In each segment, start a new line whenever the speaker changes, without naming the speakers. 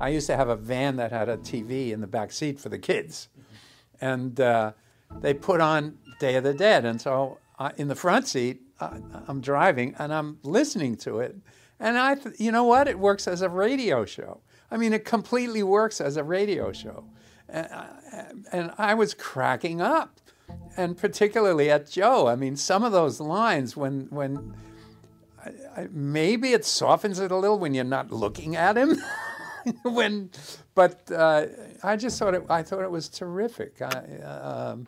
I used to have a van that had a TV in the back seat for the kids, and uh, they put on Day of the Dead, and so I, in the front seat, I, I'm driving and I'm listening to it, and I, th- you know what, it works as a radio show. I mean, it completely works as a radio show, and, I- and I was cracking up, and particularly at Joe. I mean, some of those lines when when maybe it softens it a little when you're not looking at him. when, but uh, I just thought it. I thought it was terrific. I, uh, um,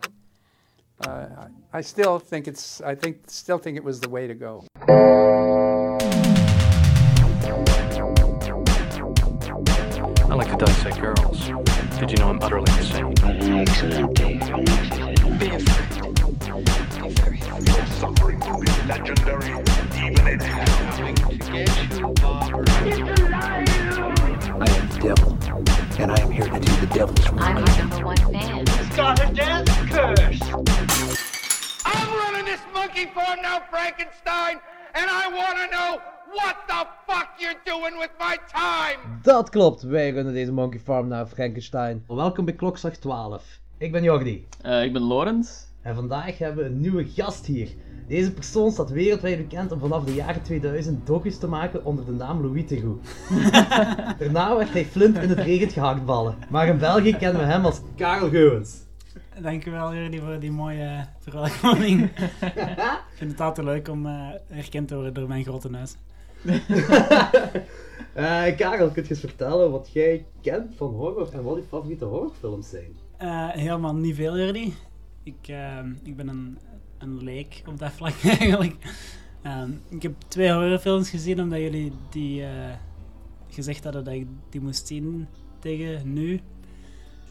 uh, I still think it's. I think still think it was the way to go.
I like to dissect girls. Did you know I'm utterly insane?
I am the devil, and I am here to do the devil's work.
I'm your number one fan.
got a death curse.
I'm running this monkey farm now, Frankenstein, and I want to know what the fuck you're doing with my time.
Dat klopt, wij runnen deze Monkey Farm naar Frankenstein. Welkom bij Klokslag 12. Ik ben Jordi.
Eh, ik ben Lorenz.
En vandaag hebben we een nieuwe gast hier. Deze persoon staat wereldwijd bekend om vanaf de jaren 2000 docu's te maken onder de naam Louis Theroux. Daarna werd hij flint in het regent gehaktballen. Maar in België kennen we hem als Karel Geuwens.
Dankjewel Jordi voor die mooie verwelkoming. ik vind het altijd leuk om eh, herkend te worden door mijn grote neus.
Eh, Karel, kunt je eens vertellen wat jij kent van horror en wat je favoriete horrorfilms zijn?
Eh, helemaal niet veel Jordi. Ik, ehm, ik ben een, een leek op dat vlak eigenlijk. Ehm, ik heb twee horrorfilms gezien omdat jullie die eh, gezegd hadden dat ik die moest zien tegen nu.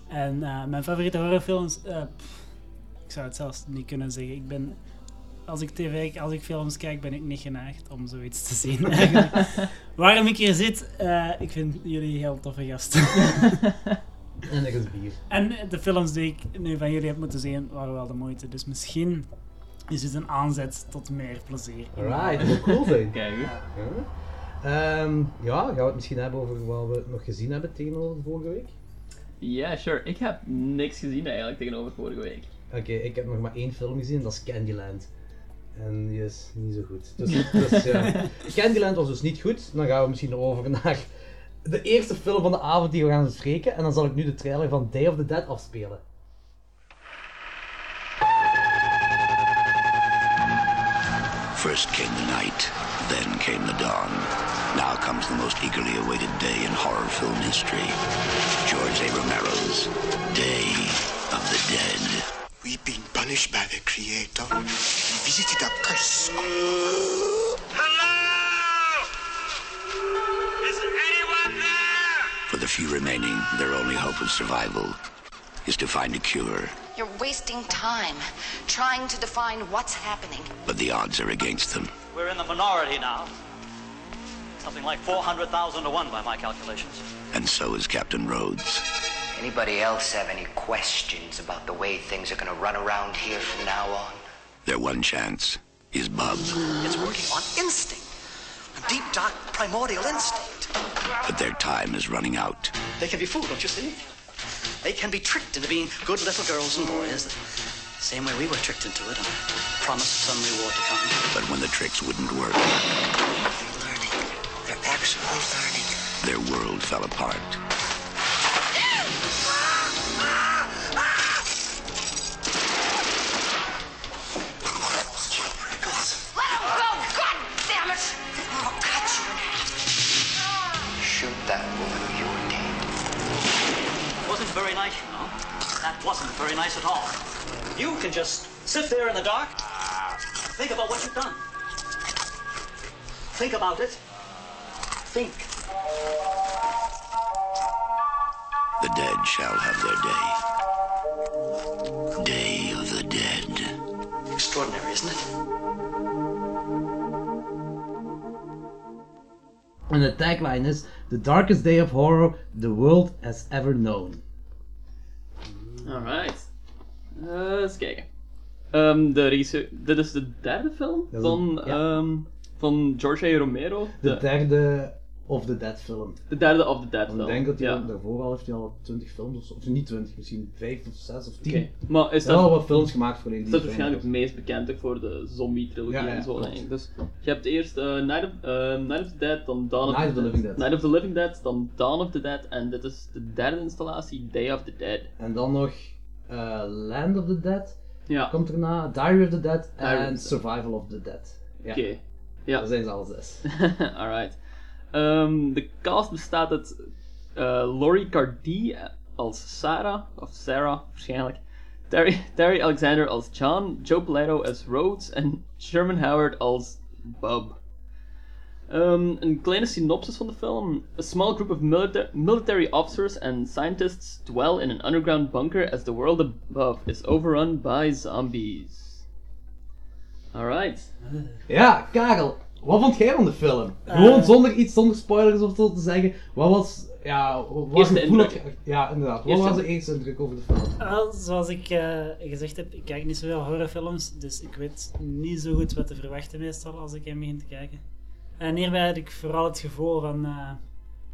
En eh, mijn favoriete horrorfilms, eh, pff, ik zou het zelfs niet kunnen zeggen. Ik ben, als ik tv, als ik films kijk, ben ik niet geneigd om zoiets te zien. eigenlijk. Waarom ik hier zit, eh, ik vind jullie heel toffe gasten.
En er is bier.
En de films die ik nu van jullie heb moeten zien, waren wel de moeite. Dus misschien is dit een aanzet tot meer plezier.
Alright, dat zou cool zijn.
Kijk, hoor.
Ja. Ehm, ja, gaan we het misschien hebben over wat we nog gezien hebben tegenover vorige week?
Ja, sure. Ik heb niks gezien eigenlijk tegenover vorige week.
Oké, ik heb nog maar één film gezien, dat is Candyland. En die is niet zo goed. Dus, dus, ja. Candyland was dus niet goed. Dan gaan we misschien over naar de eerste film van de avond die we gaan bespreken. En dan zal ik nu de trailer van Day of the Dead afspelen.
First came the night, then came the dawn. Now comes the most eagerly awaited day in horror film history. George A. Romero's Day of the Dead.
We've been punished by the Creator. He visited a curse. Hello! Is anyone there?
For the few remaining, their only hope of survival is to find a cure.
You're wasting time trying to define what's happening.
But the odds are against them.
We're in the minority now. Something like 400,000 to 1 by my calculations.
And so is Captain Rhodes.
Anybody else have any questions about the way things are gonna run around here from now on?
Their one chance is Bub.
It's working on instinct. A deep, dark, primordial instinct.
But their time is running out.
They can be fooled, don't you see? They can be tricked into being good little girls and boys. The same way we were tricked into it and promised some reward to come.
But when the tricks wouldn't work,
They're learning. They're actually learning.
their world fell apart.
Let him go! God damn it! I'll cut you in half.
Shoot that woman or you are dead.
Wasn't very nice, you know. That wasn't very nice at all. You can just sit there in the dark. Think about what you've done. Think about it. Think.
The dead shall have their day. Day of the Dead.
Extraordinary, isn't it?
En de tagline is: The darkest day of horror the world has ever known.
Alright. Eh, eens kijken. Ehm, de regisseur... Dit is de derde film
is-
van,
ja.
ehm, van George A. Romero.
De derde Of the Dead film.
De derde of the Dead
Want
film,
Ik denk dat hij
ja.
al- daarvoor al heeft hij al 20 films, of, of niet 20, misschien 5 of 6 of 10.
Oké, maar is
Hij heeft
dat-
al wat films gemaakt voor die
Is dat
film.
waarschijnlijk het meest bekend ook voor de zombie-trilogie
Ja, ja,
en zo.
klopt.
eigenlijk. Dus je hebt eerst eh, Night, of, eh, Night of the Dead, dan Dawn of,
Night of the Living Dead.
Night of the Living Dead, dan Dawn of the Dead en dit is de derde installatie, Day of the Dead.
En dan nog eh, Land of the Dead komt erna, Diary of the Dead
Diary of the
en
Dead.
Survival of the Dead. Ja.
Oké. Ja.
Dat zijn ze al zes.
Alright. Ehm, de cast bestaat uit eh, Laurie Cardi als Sarah, of Sarah waarschijnlijk. Terry, Terry Alexander als John, Joe Paletto als Rhodes en Sherman Howard als Bob. Ehm, een kleine synopsis van de film. A small group of milita- military officers and scientists dwell in an underground bunker as the world above is overrun by zombies. Alright.
Ja, Karel, wat vond jij van de film? Gewoon
Eh.
zonder iets, zonder spoilers of zo te zeggen. Wat was, ja, wat
Eerste
gevoel had
indruk.
je- Ja, inderdaad. Wat
Eerste
was de
indruk.
eerste indruk over de film?
Wel, zoals ik eh, gezegd heb, ik kijk niet zoveel horrorfilms, dus ik weet niet zo goed wat te verwachten meestal als ik hem begin te kijken. En hierbij had ik vooral het gevoel van eh,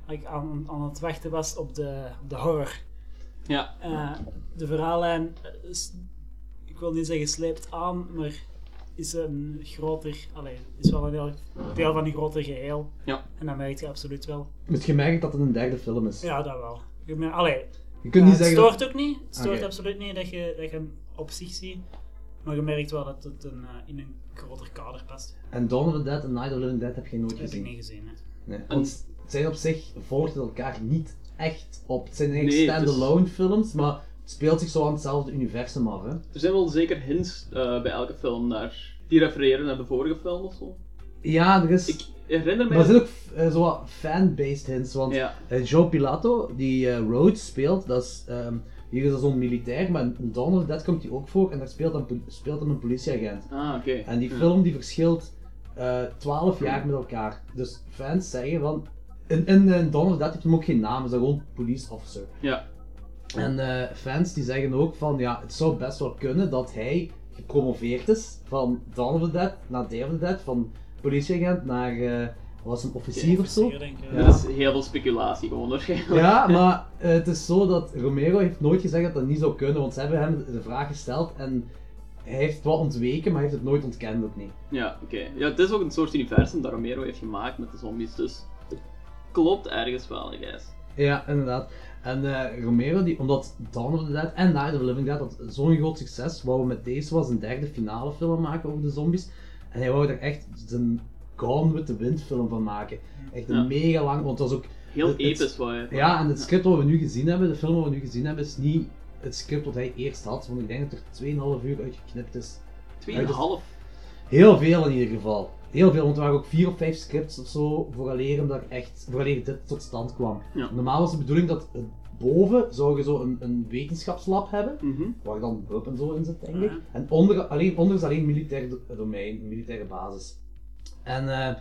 dat ik aan, aan het wachten was op de, op de horror.
Ja.
Eh, de verhaallijn, eh, is- ik wil niet zeggen sleept aan, maar is een groter, allee, is wel een heel, deel van een groter geheel.
Ja.
En dat merk je absoluut wel.
Dus je merkt dat het een derde film is.
Ja, dat wel. Ik ben- allee,
Je kunt
ja,
niet
het
zeggen
stoort
dat-
ook niet. Het stoort
Oké.
absoluut niet dat je, dat je hem op zich ziet. Maar je merkt wel dat het een, eh, in een groter kader past.
En Dawn of the Dead en Night of the Living Dead heb je nooit
Dat heb
gezien.
ik niet gezien. Hè.
Nee, want het zijn op zich volgt het elkaar niet echt op. Het zijn eigenlijk
Nee, het is-
standalone films, maar het speelt zich zo aan hetzelfde universum af. Hè?
Er zijn wel zeker hints eh, bij elke film naar, die refereren naar de vorige film of zo.
Ja, er is.
herinner mij
Maar er
dat-
zijn ook eh, zo wat fan-based hints, want eh, Joe Pilato, die eh, Rhodes speelt, dat is, ehm, hier is dat zo'n militair, maar in Dawn of the Dead komt hij ook voor en daar speelt hem, pol- speelt hem een politieagent.
Ah, oké.
En die
Ja.
film die verschilt eh 12 jaar met elkaar. Dus fans zeggen van, in, in, in Dawn of the Dead heeft hem ook geen naam, is dat gewoon police officer.
Ja.
En eh, fans die zeggen ook van ja, het zou best wel kunnen dat hij gepromoveerd is van Dawn of the Dead naar Day of the Dead, van politieagent naar eh, was een officier of zo.
Dat is heel veel speculatie gewoon waarschijnlijk.
Ja, maar eh, het is zo dat Romero heeft nooit gezegd dat dat niet zou kunnen, want ze hebben hem de vraag gesteld en hij heeft wat ontweken, maar hij heeft het nooit ontkend ook niet.
Ja, oké. Ja, het is ook een soort universum dat Romero heeft gemaakt met de zombies, dus het klopt ergens wel, I guess.
Ja, inderdaad. En eh, Romero, die, omdat Dawn of the Dead en Night of the Living Dead dat zo'n groot succes, wou met deze was een derde finale film maken over de zombies. En hij wou daar echt een Gone with the Wind film van maken. Echt een
Ja.
mega lang, want het was ook...
Heel
het- het-
episch wou hij het
Ja,
maken.
en het script wat we nu gezien hebben, de film wat we nu gezien hebben, is niet het script wat hij eerst had. Want ik denk dat er 2,5 uur uitgeknipt is.
Tweeënhalf?
Heel veel in ieder geval. Heel veel, want er waren ook vier of vijf scripts of zo, vooraleer, hem daar echt, vooraleer dit tot stand kwam.
Ja.
Normaal was de bedoeling dat het boven zou je zo een, een wetenschapslab hebben,
Mhm.
waar dan hulp en zo in zit, denk ik. En onder, alleen, onder is alleen militair do- domein, militaire basis. En eh,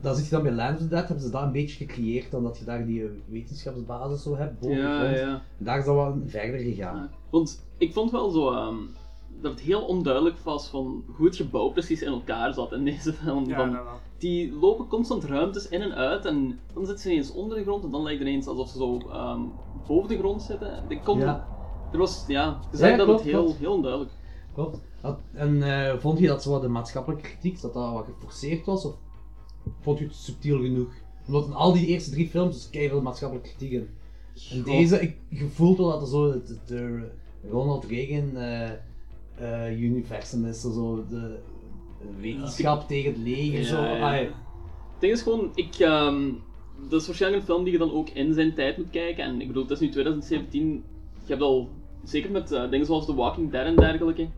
dan zit je dan bij Land of the Dead, hebben ze dat een beetje gecreëerd, dan dat je daar die eh, wetenschapsbasis zo hebt, boven
Ja,
de grond.
ja.
Daar is dat wel verder gegaan.
Want ik vond wel zo ehm, dat het heel onduidelijk was van hoe het gebouw precies in elkaar zat in deze film.
Ja,
Van,
dat wel.
Die lopen constant ruimtes in en uit en dan zitten ze ineens onder de grond en dan lijkt het ineens alsof ze zo ehm, boven de grond zitten. Ik kon-
Ja.
Er was, ja,
Ja,
je zag dat
klopt,
het heel,
klopt.
heel onduidelijk
Klopt. Dat- en eh, vond je dat zo wat de maatschappelijke kritiek, dat dat wat geforceerd was? Of vond je het subtiel genoeg? Omdat in al die eerste drie films is keihard maatschappelijke kritiek in. In
Goh.
deze, ik je voelt wel dat er zo het, het- de Ronald Reagan eh, eh, universum is, zo de wetenschap tegen het leger. zo.
Ja, ja.
Allee,
Het ding is gewoon, ik, ehm, dat is waarschijnlijk een film die je dan ook in zijn tijd moet kijken. En ik bedoel, het is nu 2017. Je hebt al, zeker met eh, dingen zoals The Walking Dead en dergelijke,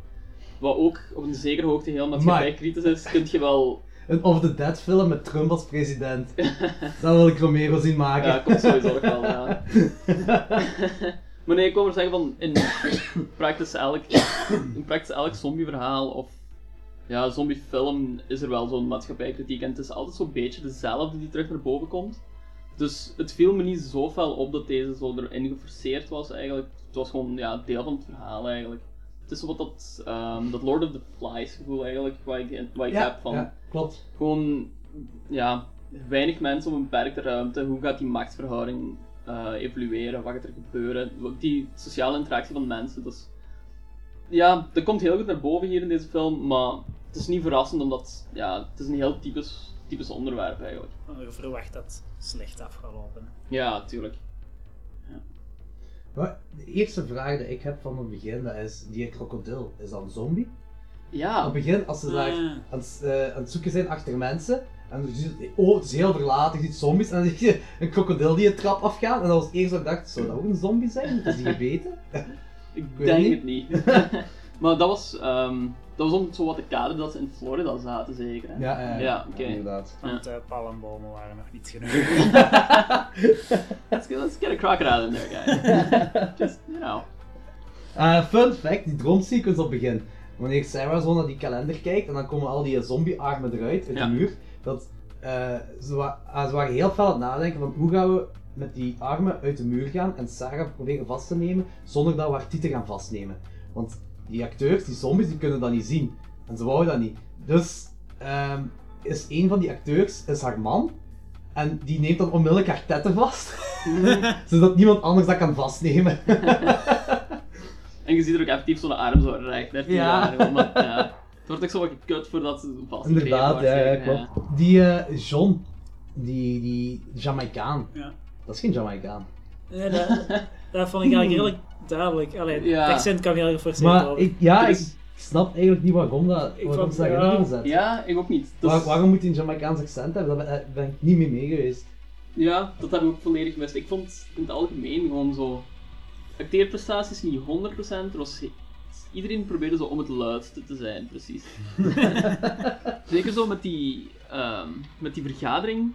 wat ook op een zekere hoogte heel maatschappijkritisch is, kun je wel.
Een Of the Dead film met Trump als president. dat wil ik Romero zien maken.
Ja, komt eh, sowieso nog wel aan. maar nee, ik wil maar zeggen van, in praktisch elk, in praktisch elk zombieverhaal of ja, zombiefilm is er wel zo'n maatschappijkritiek. En het is altijd zo'n beetje dezelfde die terug naar boven komt. Dus het viel me niet zo fel op dat deze zo erin geforceerd was eigenlijk. Het was gewoon ja, deel van het verhaal eigenlijk. Het is zo wat dat, ehm, dat Lord of the Flies gevoel eigenlijk, waar ik, waar ik
Ja,
heb van.
ja, klopt.
Gewoon, ja, weinig mensen op een beperkte ruimte. Hoe gaat die machtsverhouding eh, evolueren? Wat gaat er gebeuren? Ook die sociale interactie van mensen. Dus, ja, dat komt heel goed naar boven hier in deze film, maar het is niet verrassend omdat ja, het is een heel typisch, typisch onderwerp eigenlijk.
Je verwacht dat slecht af gaat lopen.
Ja, tuurlijk.
Maar de eerste vraag die ik heb van het begin, dat is, die krokodil, is dat een zombie?
Ja.
Op het begin, als ze daar
Ah.
aan, het- eh, aan het zoeken zijn achter mensen, en je ziet, oh, het is heel verlaten, je ziet zombies, en dan zie je een krokodil die een trap afgaat, en dat was het eerste wat ik dacht, zou dat ook een zombie zijn? Is die gebeten?
Ik
weet
denk
niet.
het niet. maar dat was, ehm, dat was om zo wat te kaderen dat ze in Florida zaten, zeker. Hè?
Ja, ja, ja.
ja, oké.
Ja, inderdaad.
Ja.
Want de palmbomen waren nog niet genoeg.
let's, get, let's get a crocodile in there, guys. Just, you know.
Eh, fun fact, die drone sequence op het begin. Wanneer Sarah zo naar die kalender kijkt en dan komen al die zombie-armen eruit, uit
Ja.
de muur. Dat, eh, ze, wa- ah, ze waren heel fel aan het nadenken van hoe gaan we met die armen uit de muur gaan en Sarah proberen vast te nemen zonder dat we haar tieten gaan vastnemen. Want die acteurs, die zombies, die kunnen dat niet zien. En ze wouden dat niet. Dus ehm, is een van die acteurs is haar man. En die neemt dan onmiddellijk haar tetten vast. Zodat niemand anders dat kan vastnemen.
En je ziet er ook effectief zo'n arm zo recht naar die
Ja.
arm, omdat, ja, Het wordt ook zo wat gekut voordat ze vast
Inderdaad, ja, ja, klopt. Die eh, John, die, die Jamaicaan.
Ja.
Dat is geen Jamaicaan.
Nee, dat, dat vond ik eigenlijk redelijk duidelijk. Allee,
Ja.
het accent kwam heel erg voor
Hmm. Maar ik, ja,
Er
ik
is-
snap eigenlijk niet waarom, dat,
Ik
waarom
vond-
ze dat
ja.
erin hebben gezet.
Ja, ik ook niet. Dat
Waar-
is-
waarom moet hij een Jamaicaans accent hebben? Daar ben, daar ben ik niet mee mee geweest.
Ja, dat heb ik ook volledig gemist. Ik vond in het algemeen gewoon zo. Acteerprestaties niet 100%, er was he- iedereen probeerde zo om het luidste te zijn, precies. Zeker zo met die, ehm, met die vergadering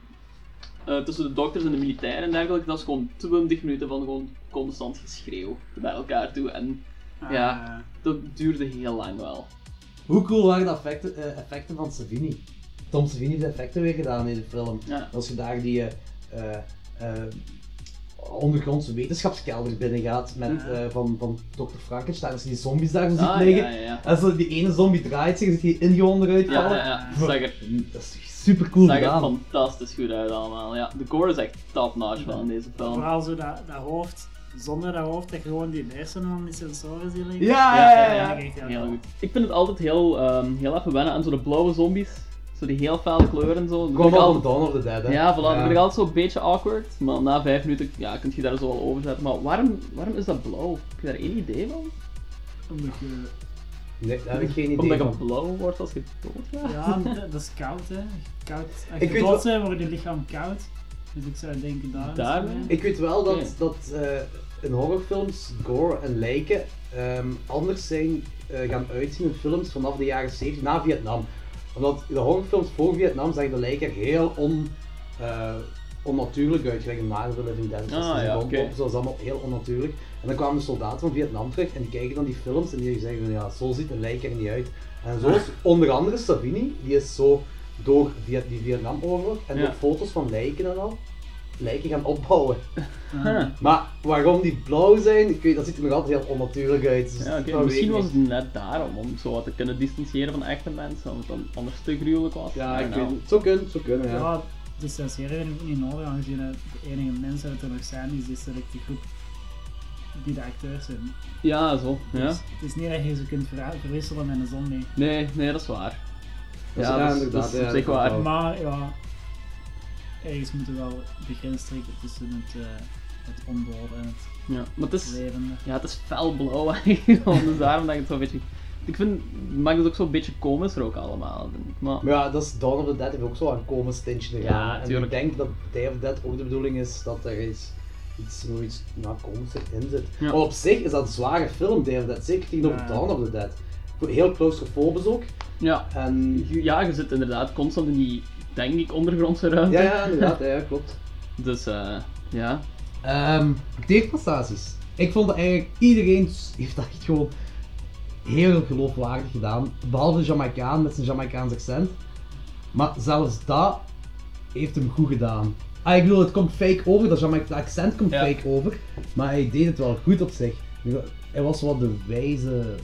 eh, tussen de dokters en de militairen en dergelijke, dat is gewoon 20 minuten van gewoon constant geschreeuw naar elkaar toe. En ja, dat duurde heel lang wel.
Hoe cool waren de effecten, eh, effecten van Savini? Tom Savini heeft de effecten weer gedaan in de film.
Ja.
Als je daar die eh, eh, eh, ondergrondse wetenschapskelders binnen gaat met, eh, van, van Dr. Frankenstein, als je die zombies daar zo ziet
Ah, ja,
liggen.
ja, ja.
En zo die ene zombie draait zich, ziet die Indion eruit
Ja,
vallen.
ja, ja. Zag er,
Dat is super cool
zag er
gedaan.
fantastisch goed uit allemaal. Ja, de gore is echt top-notch wel in deze film.
Vooral zo dat, dat hoofd, zonder dat hoofd, dat gewoon die hersenen en die sensoren die liggen.
Ja,
Ja, ja,
ja.
Heel goed. Ik vind het altijd heel, ehm, heel even wennen aan zo de blauwe zombies. Zo die heel felle kleuren en zo. Dat
Gewoon
vind ik
al
altijd-
van Dawn of the Dead, hè?
Ja, voilà. Dat vind ik altijd zo'n beetje awkward. Maar na vijf minuten ja, kun je daar zo wel over zetten. Maar waarom, waarom is dat blauw? Heb je daar één idee van?
Omdat je-
Nee, daar heb ik geen idee
Omdat je
van.
blauw wordt als je dood gaat?
Ja, dat dat is koud, hè. Koud. Als je
Ik weet
dood
wel-
bent, wordt je lichaam koud. Dus ik zou denken daar.
Daarmee?
Ik weet wel dat,
Ja.
dat eh, in horrorfilms gore en lijken ehm, anders zijn eh, gaan uitzien in films vanaf de jaren 70 na Vietnam. Omdat de horrorfilms voor Vietnam zagen de lijken er heel on, eh, onnatuurlijk uit. Gelijk in Night of the Living Dead.
Ah, ja, oké.
Dat is allemaal heel onnatuurlijk. En dan kwamen de soldaten van Vietnam terug en die kijken dan die films en die zeggen van ja, zo ziet een lijk er niet uit. En zo is onder andere Savini, die is zo door Viet- die Vietnamoorlog en
Ja.
door foto's van lijken en al, lijken gaan opbouwen. Maar waarom die blauw zijn, ik weet, dat ziet er nog altijd heel onnatuurlijk uit. Dus
Ja, oké.
dat weet
Misschien
ik
was
niet.
het net daarom, om zo wat te kunnen distancieren van echte mensen, omdat het dan anders te gruwelijk was.
Ja, ik
I don't
weet
know.
het. Zo kunnen, zo kunnen, ja.
Ja, distancieren vind ik ook niet nodig, aangezien dat de enige mensen dat er nog zijn, is die selecte groep die de acteurs zijn.
Ja, zo. Ja.
Dus het is niet dat je ze kunt ver- verwisselen met een zombie.
Nee, nee, dat is waar.
Dat is-
ja,
ja,
dat is-
inderdaad,
dat is
ja,
op zich
dat
waar.
klopt
Maar ja, ergens moeten we wel de grens trekken tussen het, eh, het ondood en het
Ja, maar
Dus-
het is,
levende.
Ja, het is felblauw eigenlijk. gewoon, Dus daarom dat ik het zo'n beetje. Ik vind, het maakt het ook zo'n beetje komischer ook allemaal. vind ik. Maar,
Maar ja, dat is Dawn of the Dead heeft ook zo aan komen stintje gedaan.
Ja,
en ik
tuurlijk.
denk dat Day of the Dead ook de bedoeling is dat er iets, iets, nog iets nou, komisch in zit.
Ja.
Maar op zich is dat een zware film, Day of the Dead, zeker tegenover
Ja.
Dawn of the Dead. Heel claustrofobisch ook.
ja.
En...
ja, je zit inderdaad constant in die, denk ik, ondergrondse ruimte.
Ja, ja, inderdaad, ja, ja, klopt.
Dus eh, ja.
Ehm acteerprestaties. Ik vond dat eigenlijk iedereen s- heeft dat echt gewoon heel geloofwaardig gedaan. Behalve de Jamaicaan met zijn Jamaicaans accent. Maar zelfs dat heeft hem goed gedaan. Ah, ik bedoel, het komt fake over, dat Jamaic dat accent komt
Ja.
fake over. Maar hij deed het wel goed op zich. Hij was wel de wijze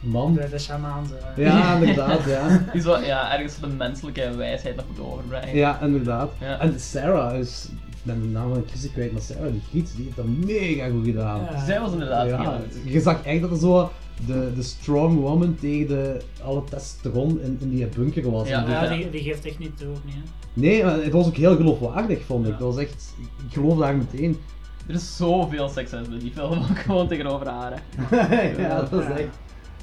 Man.
De, de shamans. eh.
Ja, inderdaad, ja.
Die zo, ja, ergens de menselijke wijsheid nog moet overbrengen.
Ja, inderdaad.
Ja.
En Sarah is, ik ben de naam van de kiezer kwijt, maar Sarah de Giet, die heeft dat mega goed gedaan.
Ja. Zij was inderdaad heel
ja.
goed.
Je zag echt dat er zo de, de strong woman tegen de, alle testosteron in, in die bunker was. En die-
Ja, die, die geeft echt niet toe, ook niet. Hè?
Nee, maar het was ook heel geloofwaardig, vond ik. Dat was echt, ik geloof daar meteen.
Er is zoveel seks uit in die film, ook gewoon tegenover haar. hè.
ja, dat is echt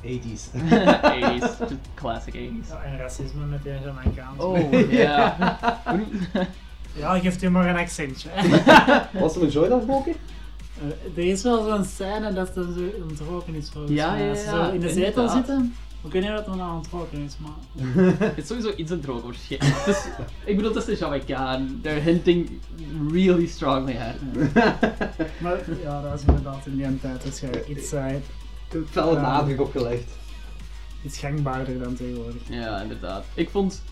80s.
80s, just classic 80s.
Ja, en racisme met die Jamaicaans.
Oh, ja.
Ja, geeft u maar een accentje.
Was er een joy dat roken?
Eh, Er is wel zo'n scène dat er zo ontroken is volgens
Ja,
mij.
ja,
Als ze
ja,
zo in de zetel
inderdaad.
zitten. Ik weet niet of dat er nou ontroken is, maar...
Het is sowieso iets aan het roken, waarschijnlijk. Het is- Ik bedoel, dat is de Jamaican. They're hinting really strongly at.
Maar ja, dat was inderdaad in die tijd waarschijnlijk iets, eh,
Felle nadruk opgelegd.
iets gangbaarder dan tegenwoordig.
Ja, inderdaad. Ik vond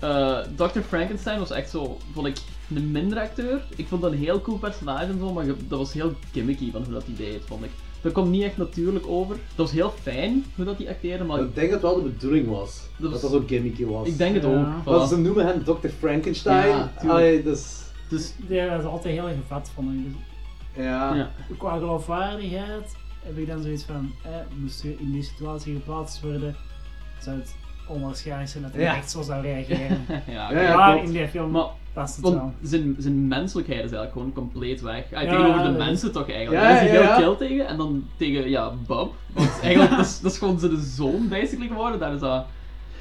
eh, Dr. Frankenstein was echt zo, vond ik een minder acteur. Ik vond dat een heel cool personage en zo, maar ge- dat was heel gimmicky van hoe dat hij deed, vond ik. Dat kwam niet echt natuurlijk over. Dat was heel fijn hoe dat hij acteerde, maar
Ik denk dat wel de bedoeling was.
Dat
Dat
was-
dat, ook gimmicky was.
ik denk het
Ja.
ook.
Want
voilà.
ze noemen hem Dr. Frankenstein.
Ja,
Ja,
tuurlijk.
Allee, dus...
Dus
Ja, dat is altijd heel gevat, vond ik. Dus
Ja.
ja.
qua geloofwaardigheid heb ik dan zoiets van... Eh, moest je in die situatie geplaatst worden, zou het onwaarschijnlijk zijn dat hij
Ja.
echt zo zou reageren.
ja, oké.
Ja, ja,
maar
klopt.
in die film
Maar,
past het wel.
want zijn, zijn menselijkheid is eigenlijk gewoon compleet weg. Hij
Ja,
tegenover de
dat is-
mensen toch eigenlijk.
Ja,
Hij is
ja,
heel
ja.
chill tegen en dan tegen, ja, Bob. Want eigenlijk, dat is, dat is gewoon zijn zoon basically geworden. Daar is dat...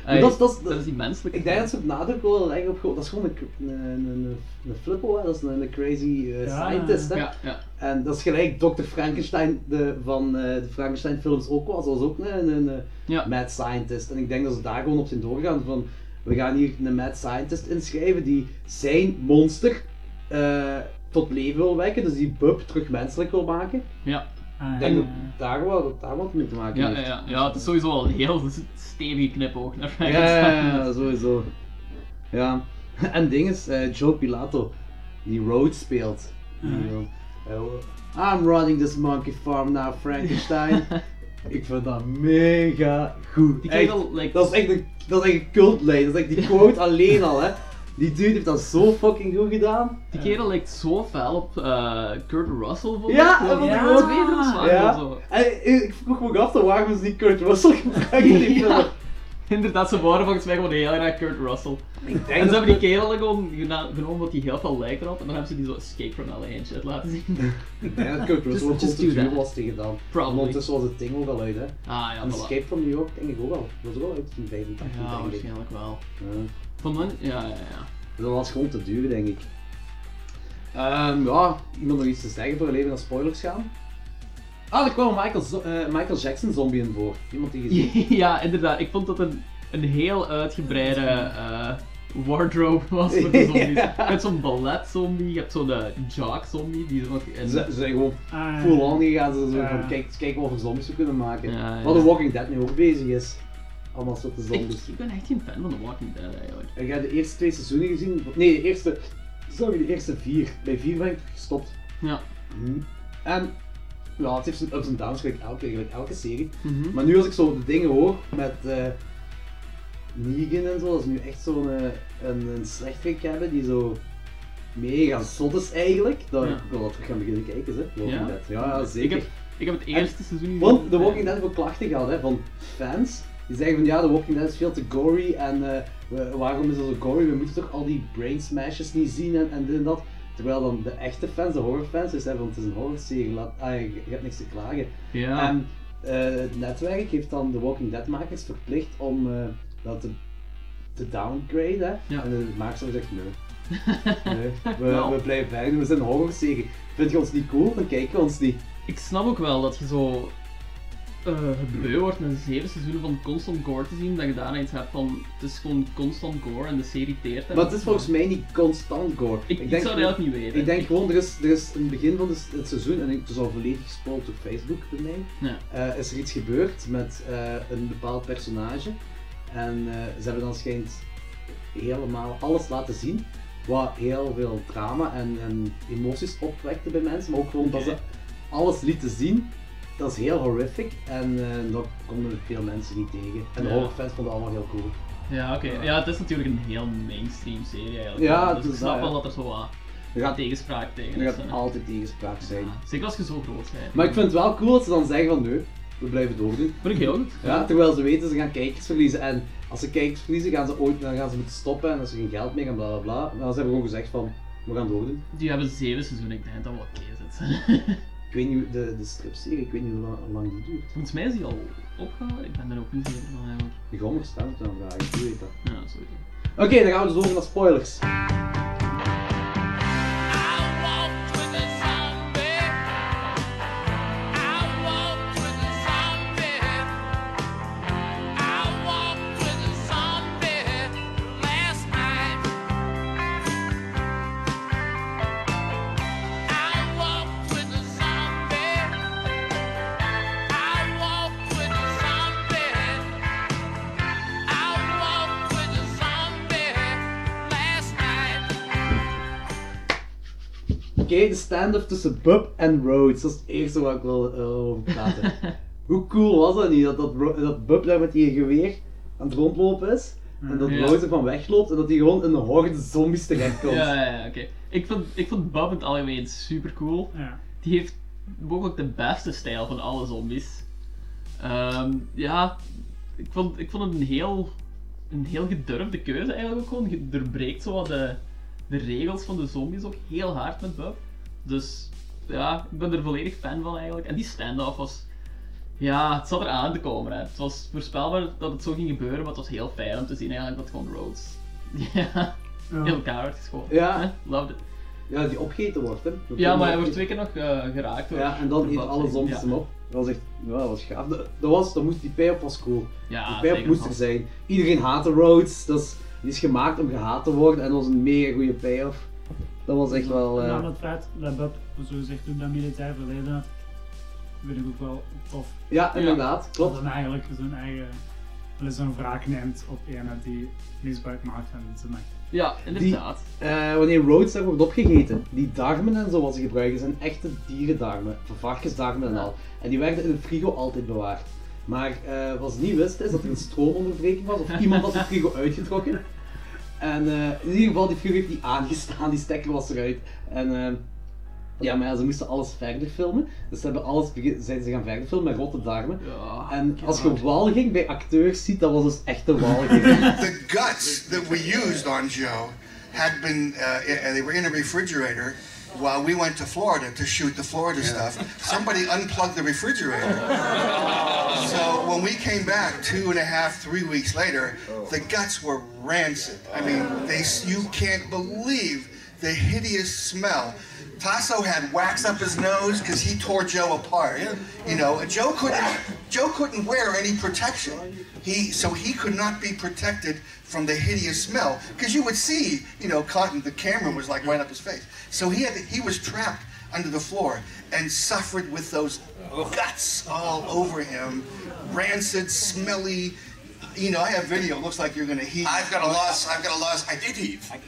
Hij-
dat is- dat is-
die menselijke
Ik denk dat ze op nadruk willen leggen op gewoon, dat is gewoon een, cr- een, een, een, een flippo, hè. dat is een, een crazy eh,
Ja.
scientist. Hè?
Ja, ja.
En dat is gelijk Dr. Frankenstein de, van eh, de Frankenstein films ook was, dat was ook een, een, een
Ja.
mad scientist. En ik denk dat ze daar gewoon op zijn doorgaan van, we gaan hier een mad scientist inschrijven die zijn monster eh, tot leven wil wekken, dus die bub terug menselijk wil maken.
Ja.
Ah,
Ik
ja,
denk dat
ja.
daar wat, dat daar wat mee te maken
Ja,
heeft.
ja, ja, het is sowieso al een heel stevige knipoog naar
Ja,
Frankenstein.
ja, ja, sowieso. Ja. En ding is, eh, Joe Pilato, die Road speelt. Die dan, eh, I'm running this monkey farm now, Frankenstein. Ik vind dat mega goed.
Die kreeg
Echt,
al, like-
dat, is echt een, dat is echt een cultlijn. Dat is echt die quote alleen al, hè. Die dude heeft dat zo fucking goed gedaan.
Die kerel lijkt zo fel op eh, Kurt Russell, vond
Ja,
ik. Gewoon
dat
die
vond ik ook.
twee drugs waren en
Ja.
zo.
En eh, ik vroeg me ook af, dan waarom is niet Kurt Russell gebruikt in die film?
Ja. Inderdaad, ze waren volgens mij gewoon heel erg Kurt Russell.
Ik denk
En ze
dat-
hebben die kerel gewoon gena- genomen wat die heel veel lijkt erop. En dan hebben ze die zo Escape from LA en shit laten zien.
Ik denk dat Kurt Russell
Just-
gewoon
just
te
do
duur
that.
was tegen dan.
Probably.
Ondertussen was het ding ook al uit, hè.
Ah ja,
En
voilà.
Escape from New York denk ik ook al. Dat was ook al uit in 85,
Ja,
denk ik.
waarschijnlijk wel.
Ja.
Van dan, ja, ja, ja.
Dat was gewoon te duur, denk ik. Ehm ja, iemand nog iets te zeggen voor we even naar spoilers gaan? Ah, er kwam een Michael, Zo- eh, Michael Jackson zombie in voor. Iemand die gezien
Ja, inderdaad. Ik vond dat een, een heel uitgebreide eh, wardrobe was voor de zombies.
Ja.
Je hebt zo'n balletzombie, je hebt zo'n eh, jock-zombie, die is ook in...
Ze, ze zijn gewoon
Ah, ja.
full on gegaan. Ze zijn zo
Ja.
van, kijk, kijk wat voor zombies we kunnen maken.
Ja, ja.
Wat de Walking Dead nu ook bezig is. Allemaal soorten
Ik,
zombies.
ik ben echt geen fan van The Walking Dead eigenlijk.
En jij hebt de eerste twee seizoenen gezien? Nee, de eerste... Sorry, de eerste vier. Bij vier ben ik gestopt.
Ja.
En ja, het heeft zijn ups en downs, gelijk elke, gelijk elke serie.
Mhm.
Maar nu als ik zo de dingen hoor met eh Negan en zo, dat is nu echt zo'n eh, een, een slechterik hebben die zo mega zot is eigenlijk. Dat
Ja.
ik wil dat terug gaan beginnen kijken, hè. Walking
Ja?
Dead. Ja, ja,
Ik
zeker.
heb, ik heb het eerste seizoen gezien.
Want The Walking Dead heeft ook klachten gehad hè, van fans. Die zeggen van ja, The Walking Dead is veel te gory en eh, we- waarom is dat zo gory? We moeten toch al die brain smashes niet zien en, en dit en dat. Terwijl dan de echte fans, de horrorfans, dus zeggen van het is een horrorserie, laat, ah, je, je hebt niks te klagen.
Ja.
En eh, het netwerk heeft dan The Walking Dead makers verplicht om eh, dat te, te downgrade. Hè.
Ja.
En de makers hebben gezegd nee. Nee, we,
Nou.
we blijven verder, we zijn een horrorserie. Vind je ons niet cool, dan kijken we ons niet.
Ik snap ook wel dat je zo eh beu wordt na zeven seizoenen van constant gore te zien, dat je daarna iets hebt van het is gewoon constant gore en de serie teert. hem.
Maar het is volgens mij niet constant gore.
Ik- ik zou dat
gewoon-
eigenlijk niet weten.
Ik denk gewoon, er is, er is in het begin van het, het seizoen, en het is al volledig gespoeld op Facebook bij mij,
Ja.
eh, is er iets gebeurd met eh, een bepaald personage. En eh, ze hebben dan schijnt helemaal alles laten zien, wat heel veel drama en, en emoties opwekte bij mensen, maar ook gewoon dat
Oké.
ze alles lieten zien dat is heel horrific en eh, dat komen veel mensen niet tegen. En de
Ja.
horrorfans vonden het allemaal heel cool.
Ja, oké. Ja, het is natuurlijk een heel mainstream serie eigenlijk.
Ja,
wel,
het
dus ik
is
snap
dat,
wel
ja.
dat er zo wat
Er gaat-
tegenspraak tegen
Er
is.
gaat
hè.
altijd tegenspraak zijn.
Zeker als je zo groot bent.
Maar ik vind het wel cool dat ze dan zeggen van nee, we blijven doordoen.
Vind ik heel goed.
Ja, terwijl ze weten ze gaan kijkers verliezen. En als ze kijkers verliezen, gaan ze ooit dan gaan ze moeten stoppen en als ze geen geld meer en bla bla bla. Maar ze hebben gewoon gezegd van we gaan doordoen.
Die hebben zeven seizoenen, ik denk dat wel oké is.
Ik weet niet, hoe- de, de stripserie, ik weet niet hoe lang, hoe lang die duurt.
Volgens mij is die al opgehouden, ik ben er ook niet zeker van eigenlijk.
Die gommers staan dan vragen, je weet dat.
Ja, sorry.
Oké, dan gaan we dus over naar spoilers. Oké, de stand-up tussen Bub en Rhodes. Dat is het eerste waar ik wil eh, over praten. Hoe cool was dat niet? Dat, dat, Ro- dat Bub daar met die geweer aan het rondlopen is. En dat
Ja.
Rhodes ervan wegloopt en dat hij gewoon in een horde zombies terechtkomt.
Ja, ja, ja, oké. Ik vond, ik vond Bob in het algemeen super cool.
Ja.
Die heeft mogelijk de beste stijl van alle zombies. Ehm, ja, ik vond, ik vond het een heel, een heel gedurfde keuze eigenlijk ook gewoon. Je doorbreekt zo wat de, de regels van de zombies ook heel hard met Bob. Dus ja, ik ben er volledig fan van eigenlijk. En die stand-off was... Ja, het zat er aan te komen. Hè. Het was voorspelbaar dat het zo ging gebeuren, maar het was heel fijn om te zien eigenlijk dat gewoon Rhodes... Ja,
Ja.
heel elkaar werd geschoten.
Ja.
Hè? Loved it.
Ja, die opgegeten wordt, hè? Dat
Ja,
komt
maar hij
ook
wordt
niet.
twee keer nog eh, geraakt. door-
Ja, en
door
dan eet
Bob
alle
zijn.
zombies
Ja.
hem op. Dat was echt, ja, dat was gaaf. Dat, dat was, dat moest, die pay-up was cool.
Ja,
die pay-up
zeker
moest
wel.
er zijn. Iedereen haatte Rhodes, dat is, die is gemaakt om gehaat te worden en dat was een mega goede pay-off. Dat was echt wel... eh,
En dan het feit Nou, dat Bob zo zegt toen dat militair verleden had, vind ik ook wel tof.
Ja, inderdaad, klopt.
Dat hij eigenlijk zijn eigen, wel, zijn wraak neemt op iemand die misbruik maakt van zijn macht.
Ja, inderdaad.
eh, wanneer Rhodes daar wordt opgegeten, die darmen en zo wat ze gebruiken zijn echte dierendarmen, van varkensdarmen en al. En die werden in de frigo altijd bewaard. Maar eh, wat ze niet wisten is dat er een stroomonderbreking was of iemand had de frigo uitgetrokken. En eh, in ieder geval, die frigo heeft niet aangestaan, die stekker was eruit. En eh, ja, maar ja, ze moesten alles verder filmen. Dus ze hebben alles, begin- zijn ze gaan verder filmen met rotte darmen. en als je walging bij acteurs ziet, dat was dus echt een walging.
the guts that we used on Joe had been, uh, i- they were in a refrigerator while we went to Florida to shoot the Florida stuff. Somebody unplugged the refrigerator. so when we came back two and a half, three weeks later, the guts were rancid. I mean, they, s- you can't believe the hideous smell. Tasso had wax up his nose because he tore Joe apart. You know, Joe couldn't Joe couldn't wear any protection. He so he could not be protected from the hideous smell because you would see, you know, cotton. The camera was like right up his face. So he had he was trapped under the floor and suffered with those guts all over him, rancid, smelly. You know, I have video. It looks like you're gonna heat.
I've got a loss. I've got a loss. I did heave. I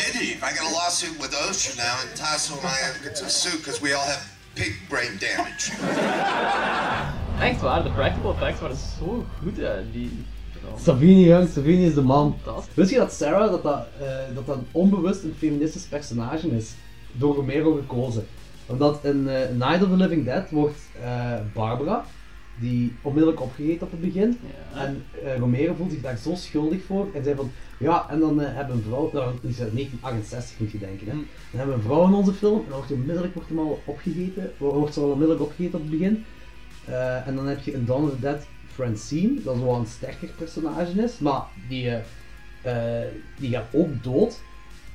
did heave. I got a lawsuit with OSHA now, and Tasso and I have got to sue because we all have pig brain damage.
Echt waar, de practical effects waren zo goed uit. Die...
Savini, jong, Savini is de man.
Fantastisch.
Wist je dat Sarah dat dat, eh, dat dat onbewust een feministisch personage is? Door Romero gekozen. Omdat in eh, Night of the Living Dead wordt eh, Barbara, die onmiddellijk opgegeten op het begin, en eh, Romero voelt zich daar zo schuldig voor en zei van, ja, en dan eh, hebben een vrouw, nou, het is uit 1968 moet je denken, hè. dan hebben we een vrouw in onze film en dan wordt onmiddellijk wordt hem al opgegeten, wordt ze al onmiddellijk opgegeten op het begin. Eh, en dan heb je in Dawn of the Dead Francine, dat is wel een sterker personage is, maar die, eh, eh, die gaat ook dood.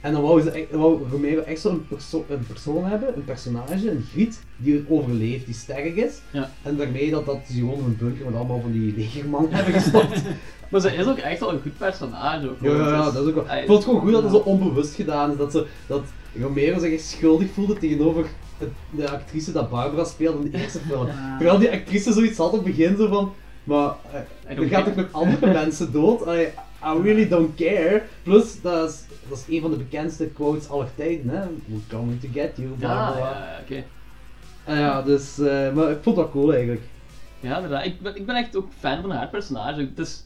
En dan wou, ze, echt- dan wou Romero echt zo'n perso een persoon hebben, een personage, een griet, die het overleeft, die sterk is. En daarmee dat, dat ze gewoon in een bunker met allemaal van die legermannen hebben gestopt.
Maar ze is ook echt wel een goed personage. ook,
Ja, ja,
hoor. Dus-
ja,
Het
dat is ook wel.
Hij-
Ik vond het gewoon goed dat het zo onbewust gedaan is. Dat, ze, dat Romero zich echt schuldig voelde tegenover het- de actrice dat Barbara speelde in de eerste film. Terwijl die actrice zoiets had op het begin zo van. Maar eh, er
don't
gaat ook
care.
nog andere mensen dood. I, I really don't care. Plus, dat is, dat is een van de bekendste quotes aller tijden. Hè? We're going to get you, bla
Ja,
bla, bla.
ja, ja, oké.
Ah ja, dus, eh, maar ik vond dat cool eigenlijk.
Ja, inderdaad. Ik ben, ik ben echt ook fan van haar personage. Het is,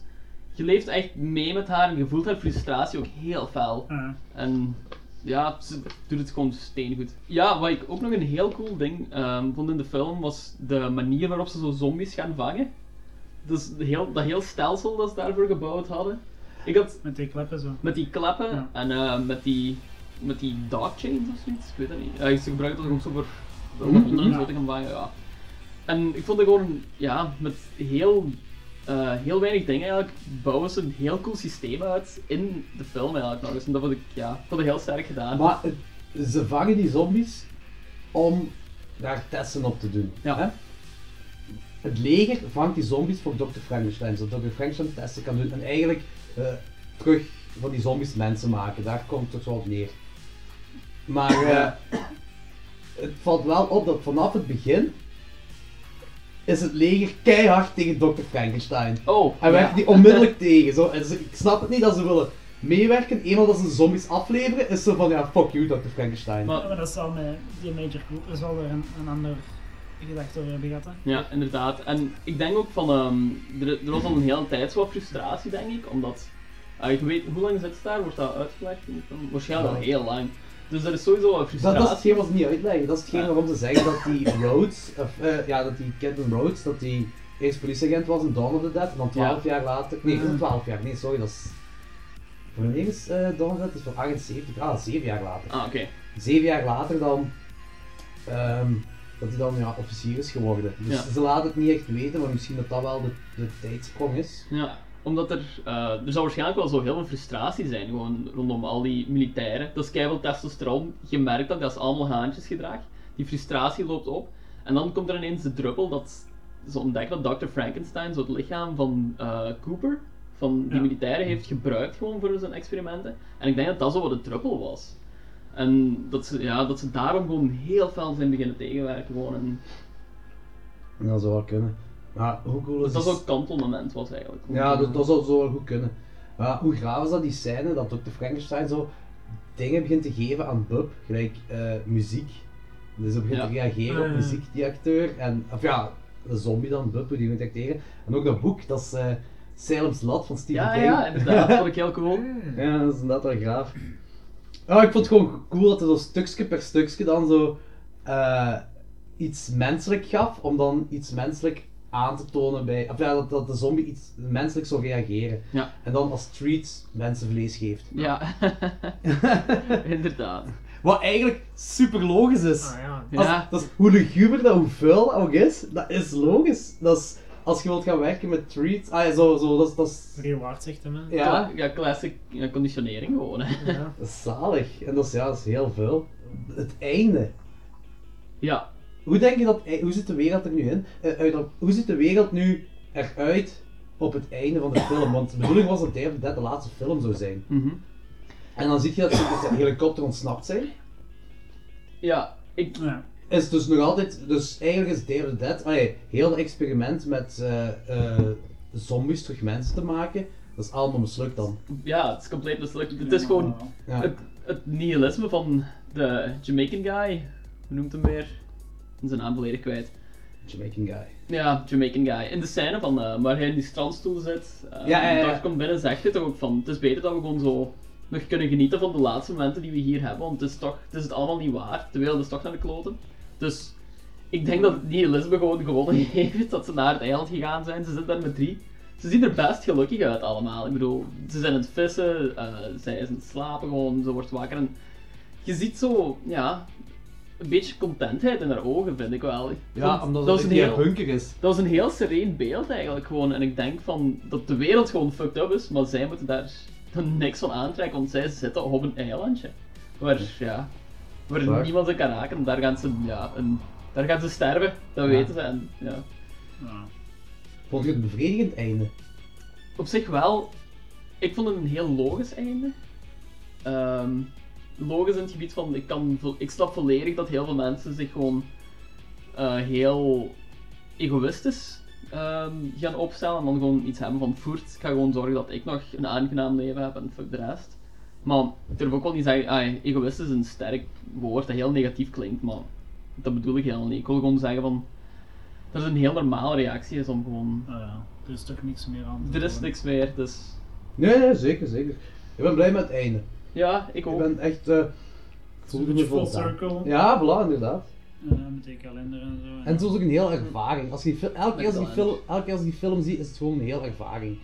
je leeft echt mee met haar en je voelt haar frustratie ook heel fel.
Ah,
En ja, ze doet het gewoon steengoed. Ja, wat ik ook nog een heel cool ding ehm, vond in de film was de manier waarop ze zo zombies gaan vangen. Dus de heel, dat heel stelsel dat ze daarvoor gebouwd hadden. Ik had,
met die kleppen zo.
Met die kleppen en eh, met die, met die dog chains of zoiets, ik weet het niet. Eh, ze gebruikten dat gewoon zo voor voor
Mhm.
honden en zo
Ja.
te gaan vangen, ja. En ik vond het gewoon, ja, met heel, eh, heel weinig dingen eigenlijk, bouwen ze een heel cool systeem uit in de film eigenlijk nog eens. En dat vond ik, ja, vond ik heel sterk gedaan.
Maar het- ze vangen die zombies om daar testen op te doen. Hè? Het leger vangt die zombies voor Dr. Frankenstein, zodat Dr. Frankenstein testen kan doen en eigenlijk eh, terug van die zombies mensen maken. Daar komt het toch wel op neer. Maar eh, het valt wel op dat vanaf het begin is het leger keihard tegen Dr. Frankenstein.
Oh,
Hij
ja.
werkt die onmiddellijk tegen. Zo. En ze- ik snap het niet dat ze willen meewerken. Eenmaal dat ze zombies afleveren, is ze van ja, fuck you, Dr. Frankenstein.
Maar, dat is al met die Major Cooper, is wel weer een, een ander gedachte over hebben gehad. hè.
Ja, inderdaad. En ik denk ook van, ehm, er, er was al een hele tijd zo wat frustratie, denk ik, omdat, ah, ik weet, hoe lang zit het daar? Wordt dat uitgelegd? in de film? Waarschijnlijk al
Ja.
heel lang. Dus er is sowieso wat
Dat,
frustratie.
dat is hetgeen wat ze niet uitleggen. Dat is hetgeen waarom ze zeggen dat die Rhodes, of, eh, ja, dat die Captain Rhodes, dat die eerst politieagent was in Dawn of the Dead, en dan 12 jaar later, nee,
Mhm.
12 jaar, nee, sorry, dat is. Wanneer is eh, Dawn of the Dead? is van 78, ah, 7 jaar later.
Ah, oké.
7 jaar later dan, ehm, dat hij dan ja, officier is geworden. Dus
Ja.
ze laten het niet echt weten, maar misschien dat dat wel de, de tijdsprong is.
Ja, omdat er, eh, er zal waarschijnlijk wel zo heel veel frustratie zijn gewoon rondom al die militairen. Dat is keihard testosteron, je merkt dat, dat is allemaal haantjesgedrag. Die frustratie loopt op. En dan komt er ineens de druppel dat ze ontdekken dat Dr. Frankenstein zo het lichaam van eh, Cooper, van die militairen, heeft gebruikt gewoon voor zijn experimenten. En ik denk dat dat zo wat de druppel was. En dat ze, ja, dat ze daarom gewoon heel fel zijn beginnen tegenwerken. Gewoon. En
En dat zou wel kunnen. Maar hoe cool is het-
dat dat zo'n kantelmoment was eigenlijk.
Dus- Ja, dat, dat zou zo wel goed kunnen. Maar hoe graaf is dat die scène dat Dr. Frankenstein zo dingen begint te geven aan Bub, gelijk eh, muziek. Dus hij begint
Ja.
te reageren op
Eh.
muziek, die acteur. En, of ja, de zombie dan, Bub, hoe die moet acteren. En ook dat boek, dat is eh Salem's Lot van Stephen
Ja,
King.
ja, inderdaad, dat vond ik heel cool.
ja, dat is inderdaad wel graaf. Ja, ik vond het gewoon cool dat hij zo stukje per stukje dan zo eh, iets menselijk gaf, om dan iets menselijk aan te tonen bij... Of ja, dat, dat de zombie iets menselijk zou reageren.
Ja.
En dan als treat mensenvlees geeft.
Ja, inderdaad.
Wat eigenlijk super logisch is.
Ah, ja.
Als-
Ja.
dat is, hoe luguber dat, hoe vuil dat ook is, dat is logisch. Dat is, als je wilt gaan werken met treats, ah, ja, zo, zo, dat, is- dat is...
Reward zegt hem. hè.
Ja.
Kla- ja classic ja, conditionering gewoon. hè.
Ja.
Dat is zalig. En dat is, ja, dat is heel veel. Het einde.
Ja.
Hoe denk je dat, eh, hoe zit de wereld er nu in? Eh, uit, hoe ziet de wereld nu eruit op het einde van de film? Want de bedoeling was dat Day of the Dead de laatste film zou zijn. En dan zie je dat ze met de helikopter ontsnapt zijn.
Ja, ik...
Is het dus nog altijd, dus eigenlijk is Day of the Dead, allee, heel het experiment met eh, eh, zombies terug mensen te maken, dat is allemaal mislukt dan.
Ja, het is compleet mislukt. Het is gewoon
Ja.
het, het nihilisme van de Jamaican guy. Hoe noemt hem weer? Ik ben zijn naam volledig kwijt.
Jamaican guy.
Ja, Jamaican guy. In de scène van eh, waar hij in die strandstoel zit, eh
Ja, ja, ja.
en Doc komt binnen, zegt hij toch ook van, het is beter dat we gewoon zo nog kunnen genieten van de laatste momenten die we hier hebben, want het is, toch, het, is het allemaal niet waar. De wereld is toch naar de kloten. Dus ik denk dat nihilisme gewoon gewonnen heeft, dat ze naar het eiland gegaan zijn. Ze zitten daar met drie. Ze zien er best gelukkig uit allemaal. Ik bedoel, ze zijn aan het vissen, eh, zij is aan het slapen gewoon, ze wordt wakker en je ziet zo, ja, een beetje contentheid in haar ogen, vind ik wel. Ik
Ja,
vond-
omdat
was
het
een
echt
heel-
die bunker is.
Dat was een heel sereen beeld eigenlijk gewoon. En ik denk van dat de wereld gewoon fucked up is, maar zij moeten daar niks van aantrekken, want zij zitten op een eilandje. Waar, ja, waar
Waar?
niemand ze kan raken. En Daar gaan ze, ja, een- daar gaan ze sterven, dat
Ja.
weten ze. En, ja.
Vond je het een bevredigend einde?
Op zich wel, ik vond het een heel logisch einde. Ehm, logisch in het gebied van, ik, kan, vo- ik snap volledig dat heel veel mensen zich gewoon eh, heel egoïstisch ehm, gaan opstellen en dan gewoon iets hebben van voert, ik ga gewoon zorgen dat ik nog een aangenaam leven heb en fuck de rest. Maar ik durf ook wel niet zeggen, ah, egoïstisch is een sterk woord dat heel negatief klinkt, maar dat bedoel ik helemaal niet. Ik wil gewoon zeggen van, dat het een heel normale reactie is om gewoon...
Ah, er is toch niks meer aan
Er is niks meer, dus...
Nee, nee, zeker, zeker. Ik ben blij met het einde.
Ja, ik ook.
Ik ben echt... eh voelde
een
me
full
voldaan.
circle.
Ja, voilà, inderdaad.
Eh, met die kalender en zo.
En het was ook een hele ervaring. Als je die fil- elke, keer als je die
Met
film, elke keer als je die film ziet, is het gewoon een hele ervaring.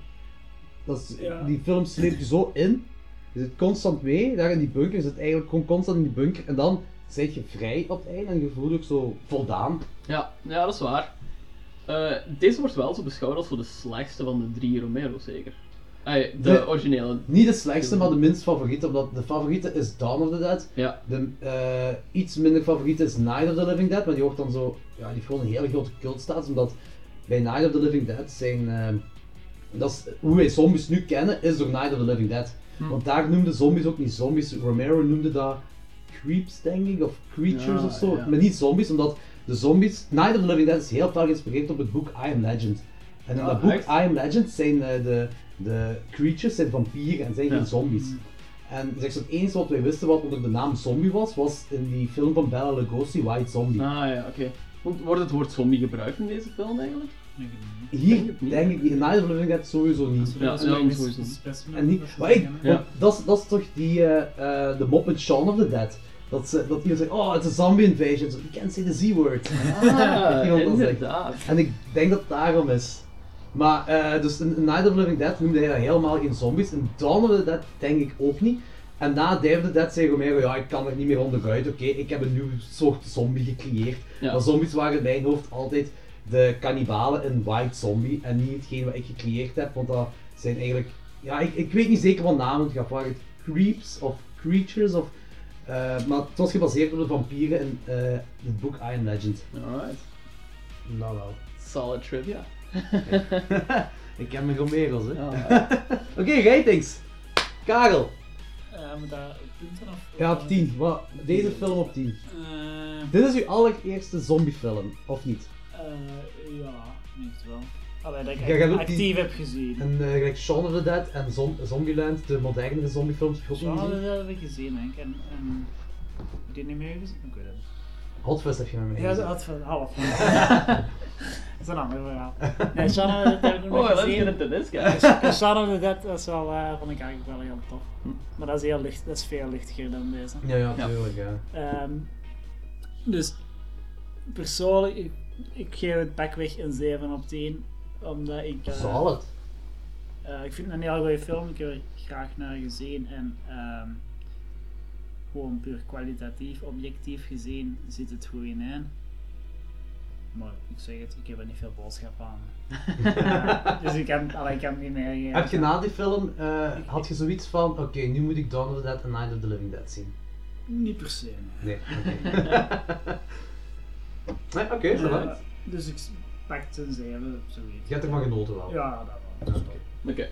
Dat is,
Ja.
Die film sleept je zo in. Je zit constant mee, daar in die bunker. Je zit eigenlijk gewoon constant in die bunker. En dan zit je vrij op het einde en je voelt je ook zo voldaan.
Ja, ja dat is waar. Eh, deze wordt wel zo beschouwd als voor de slechtste van de drie Romero, zeker. Ai, de
Nee.
originele.
Niet de slechtste, maar de minst favoriete. Omdat de favoriete is Dawn of the Dead.
Ja.
De eh, iets minder favoriete is Night of the Living Dead. Maar die wordt dan zo. Ja, die heeft gewoon een hele grote cultstatus. Omdat bij Night of the Living Dead zijn. ehm, dat is, hoe wij zombies nu kennen, is door Night of the Living Dead.
Hm.
Want daar noemden zombies ook niet zombies. Romero noemde dat creeps, denk ik, of creatures
Ja,
of zo.
ja.
Maar niet zombies, omdat de zombies. Night of the Living Dead is heel veel geïnspireerd op het boek I Am Legend. En in
Ah,
dat boek
echt?
I Am Legend zijn eh, de, de creatures zijn vampieren en zijn
Ja.
geen zombies.
Mm-hmm.
En zeg, het enige wat wij wisten wat onder de naam zombie was, was in die film van Bella Lugosi, White Zombie.
Ah ja, oké. Wordt het woord zombie gebruikt in deze film eigenlijk?
Hier denk ik, in Night of the Living Dead sowieso niet.
Ja, dat is wel een sowieso.
En niet, maar ik,
Ja.
want dat, is, dat is toch die, eh, eh, de mop in Shaun of the Dead. Dat, ze, dat iemand zegt, oh, het is zombie invasion. Zo, You can't say the Z-word.
Ah,
Iemand dat zegt.
inderdaad.
En ik denk dat het daarom is. Maar, eh, dus in in Night of the Living Dead noemde hij dat helemaal geen zombies. In Dawn of the Dead denk ik ook niet. En na Day of the Dead zei Romero, ja, ik kan er niet meer onderuit. Oké, ik heb een nieuw soort zombie gecreëerd.
Ja.
Maar zombies waren in mijn hoofd altijd de kannibalen in White Zombie. En niet hetgeen wat ik gecreëerd heb, want dat zijn eigenlijk... Ja, ik, ik weet niet zeker wat naam het gaf. Waren het creeps of creatures of... eh, maar het was gebaseerd op de vampieren in eh, het boek I Am Legend.
Alright.
Nou wel.
Solid trivia.
Ik ken mijn Romero's, hè.
Ja.
Oké, ratings. Karel.
Eh, moet daar punten af?
Ja, op 10. Wat? Deze film op 10. Dit is uw allereerste zombiefilm, of niet?
Eh, ja, niet wel. Allee, dat ik
Ja, jij hebt
echt
ook
actief
die-
heb gezien.
En eh, gelijk Shaun of the Dead en Zom Zombieland, de modernere zombiefilms, heb je ook
Ja,
niet gezien?
dat heb ik gezien, Henk. En, en... Heb je die niet meer gezien? Ik weet het niet.
Hot Fuzz heb je met mij
Ja,
gezien.
dat had van half. Dat is een ander verhaal. Nee, Shadow of the Dead heb ik nog
Oh,
niet
let's
gezien.
get into this
Ja,
guy.
Shadow of the Dead dat is wel, eh, vond ik eigenlijk wel heel tof. Maar dat is, heel licht, dat is veel lichtiger dan deze.
Hm. Ja, ja, tuurlijk, ja.
Ehm, dus persoonlijk, ik, ik geef het pakweg een 7 op 10. Omdat ik... eh,
Solid.
eh, ik vind het een heel goede film, ik heb er graag naar gezien. En ehm, gewoon puur kwalitatief, objectief gezien, zit het goed in. hè. Maar ik zeg het, ik heb er niet veel boodschap aan. Eh, dus ik kan, allee, ik kan het niet meer geven.
Heb je na die film, eh, had je zoiets van, oké, nu moet ik Dawn of the Dead en Night of the Living Dead zien?
Niet per se,
Nee, oké. nee, oké,
Eh,
alright.
dus ik s- pak een 7, zoiets.
Je hebt ervan genoten wel?
Ja, dat wel. Dus
Oké.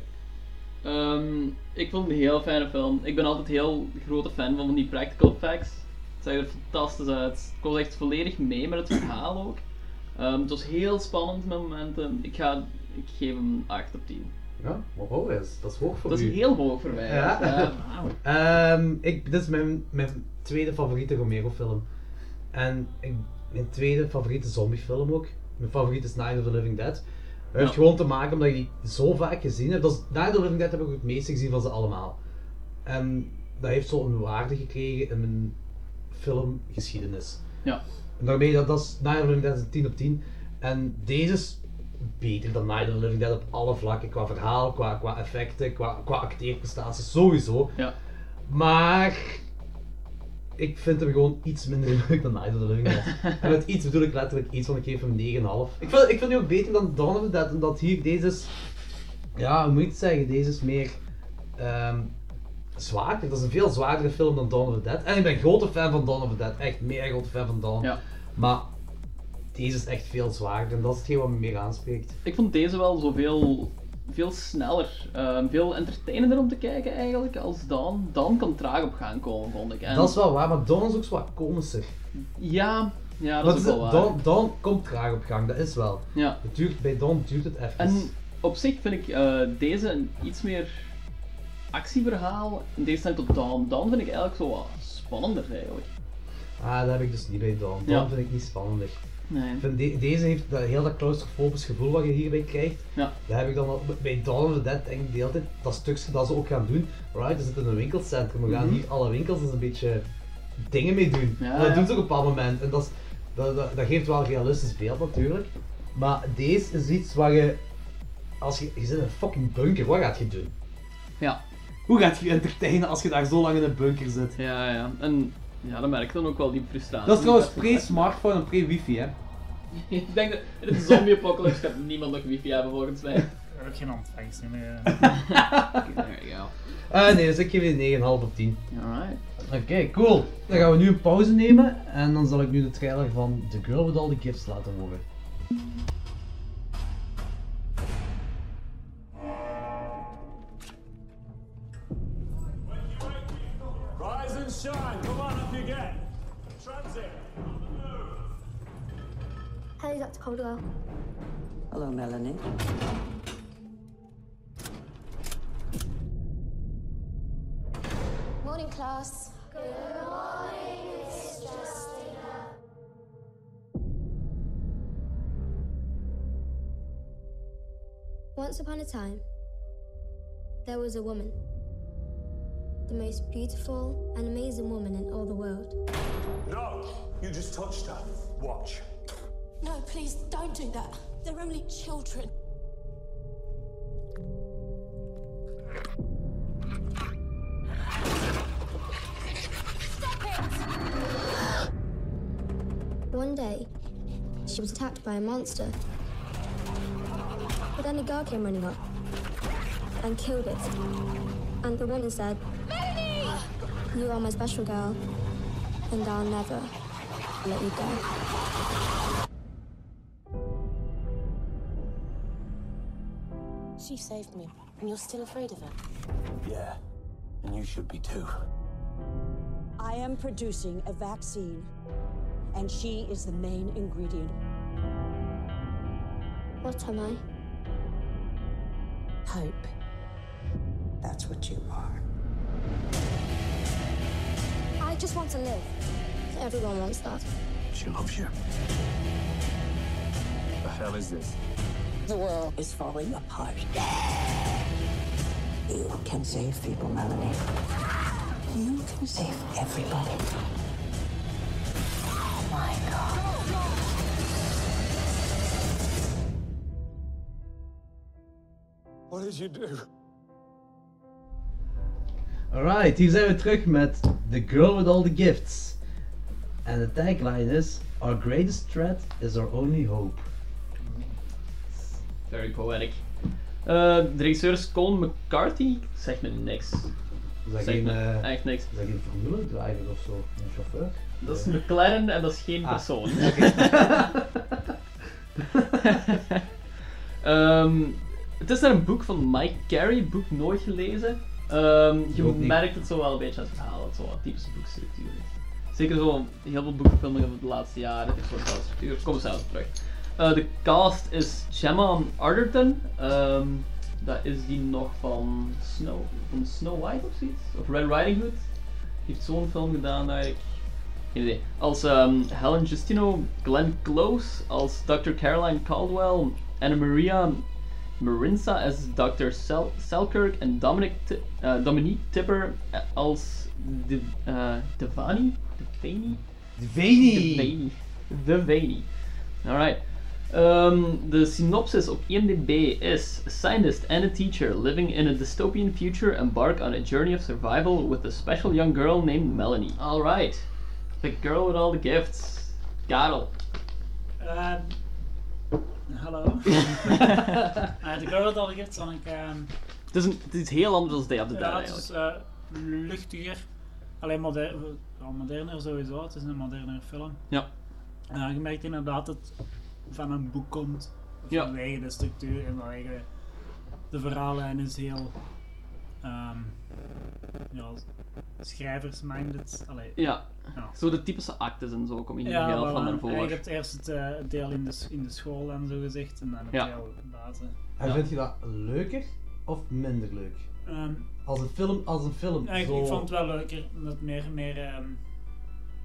Ehm, ik vond het een heel fijne film. Ik ben altijd heel grote fan van die practical effects. Het zag er fantastisch uit. Ik was echt volledig mee met het verhaal ook. Ehm, het was heel spannend met momenten. Ik, ga, ik geef hem 8 op 10.
Ja, maar hoog is. Dat is hoog voor
Dat is
u.
heel hoog voor mij.
Ja.
Ja.
Ehm, ik, dit is mijn, mijn tweede favoriete Romero-film. En ik- mijn tweede favoriete zombiefilm ook. Mijn favoriet is Night of the Living Dead. Het heeft
Ja.
gewoon te maken omdat ik die zo vaak gezien heb. Dat is, Night of the Living Dead heb ik ook het meeste gezien van ze allemaal. En dat heeft zo'n waarde gekregen in mijn filmgeschiedenis.
Ja.
En daarmee, dat, dat is, Night of the Living Dead is een 10 op 10. En deze is beter dan Night of the Living Dead op alle vlakken. Qua verhaal, qua, qua effecten, qua, qua acteerprestaties, sowieso.
Ja.
Maar ik vind hem gewoon iets minder leuk dan Night of the Living Dead. en met iets bedoel ik letterlijk iets, want ik geef hem 9,5. Ik vind, ik vind die ook beter dan Dawn of the Dead, omdat hier deze is... Ja, hoe moet je het zeggen? Deze is meer... ehm, zwaarder. Dat is een veel zwaardere film dan Dawn of the Dead. En ik ben een grote fan van Dawn of the Dead. Echt meer grote fan van Dawn. Maar deze is echt veel zwaarder en dat is hetgeen wat me meer aanspreekt.
Ik vond deze wel zoveel veel sneller, ehm, veel entertainender om te kijken eigenlijk als Dan. Dan kan traag op gang komen, vond ik. En-
Dat is wel waar, maar Dawn is ook zo wat komischer.
Ja, ja
Maar
dat is
het
ook wel waar.
Dawn, Dawn komt traag op gang, dat is wel.
Ja.
Het duurt, bij Dawn duurt het even.
En op zich vind ik eh, deze een iets meer actieverhaal. In tegenstelling tot Dan. Dan vind ik eigenlijk zo wat spannender eigenlijk.
Ah, dat heb ik dus niet bij Dawn.
Ja.
Dawn vind ik niet spannend.
Nee.
Ik vind de- deze heeft dat, heel dat claustrofobisch gevoel wat je hierbij krijgt.
Ja.
Dat heb ik dan al- bij Dawn of the Dead denk ik de hele tijd dat stukje dat ze ook gaan doen. Right, we zitten in een winkelcentrum, we gaan
Mhm.
hier alle winkels eens een beetje dingen mee doen.
Ja,
En dat
ja.
doen ze ook op een bepaald moment. En dat, is, dat, dat, dat geeft wel een realistisch beeld natuurlijk. Maar deze is iets waar je, als je, je zit in een fucking bunker, wat gaat je doen?
Ja.
Hoe gaat je je entertainen als je daar zo lang in een bunker zit?
Ja, ja. En ja, dan merk ik dan ook wel die frustratie.
Dat is trouwens pre-smartphone en pre-wifi, hè?
ik denk dat in een zombie-apocalypse gaat niemand nog wifi hebben volgens mij.
Ik heb ook geen ontvangst meer. Eh,
There you go.
Ah nee, dus ik geef die 9,5 op 10.
Alright.
Oké, cool. Dan gaan we nu een pauze nemen en dan zal ik nu de trailer van The Girl With All The Gifts laten horen.
Rise and shine. Come on up you get. Transit.
Hello, Dr. Caldwell.
Hello, Melanie.
Morning, class. Good morning, Miss Justina. Once upon a time, there was a woman. The most beautiful and amazing woman in all the world.
No, you just touched her. Watch.
No, please don't do that. They're only children.
One day, she was attacked by a monster. But then a girl came running up and killed it. And the woman said, Melanie! You are my special girl, and I'll never let you go.
She saved me, and you're still afraid of her.
Yeah, and you should be too.
I am producing a vaccine, and she is the main ingredient.
What am I?
Hope.
That's what you are.
I just want to live. Everyone wants that.
She loves you. The hell is this?
The world is falling apart. You can save people, Melanie. You can save everybody. Oh my God.
What did you do?
Alright, hier zijn we terug met The Girl With All The Gifts. En de tagline is, Our greatest threat is our only hope.
Very poetic. Eh, de regisseur is Colin McCarthy. Zegt me niks.
Is dat
Zegt
geen,
me
eh,
echt niks.
Is dat geen formule driver of zo? Een chauffeur?
Dat is
Eh,
een McLaren en dat is geen
Ah,
persoon.
oké.
Ehm, het is naar een boek van Mike Carey, boek nooit gelezen. Ehm, je
Ook niet.
merkt het zo wel een beetje aan het verhaal, dat het zo wat typische boekstructuur is. Zeker zo heel veel boekfilmingen van de laatste jaren, het is zo'n bepaalde structuur. Ik Kom zelf terug. Eh, de cast is Gemma Arterton. Ehm, dat is die nog van Snow, van Snow White of zoiets? Of Red Riding Hood? Die heeft zo'n film gedaan eigenlijk. Geen idee. Als ehm, Helen Justino, Glenn Close als Dr. Caroline Caldwell, Anna Maria Marinza als Dr. Sel- Selkirk en Dominic Ti- eh, Dominique Tipper uh, als De- eh, Devani? Devani?
Devani.
Devani. Devani. Alright. Um, the synopsis op IMDb is A scientist and a teacher living in a dystopian future embark on a journey of survival with a special young girl named Melanie. Alright. The girl with all the gifts. Karel.
Ehm, hallo. Eh, de Girl With All The Gifts vond ik... ehm,
Het is, een, het is heel anders dan Day of the Dead
ja, het
eigenlijk.
is eh, luchtiger. Alleen moder wel moderner sowieso. Het is een moderner film.
Ja.
Eh, je merkt inderdaad dat het van een boek komt. Vanwege de structuur en vanwege de verhaallijn is heel... ehm, ja, schrijvers-minded. Allee,
Ja.
ja.
Zo de typische actes en zo kom je
Ja,
niet heel
voilà.
van naar
En
voren.
je hebt eerst het eh, het deel in de, s- in de school en zo gezegd, en dan het
Ja.
deel bazen.
En vind je dat leuker of minder leuk?
Ehm,
Als een film, als een film.
Ja, ik,
zo...
ik vond het wel leuker, omdat het meer, meer ehm,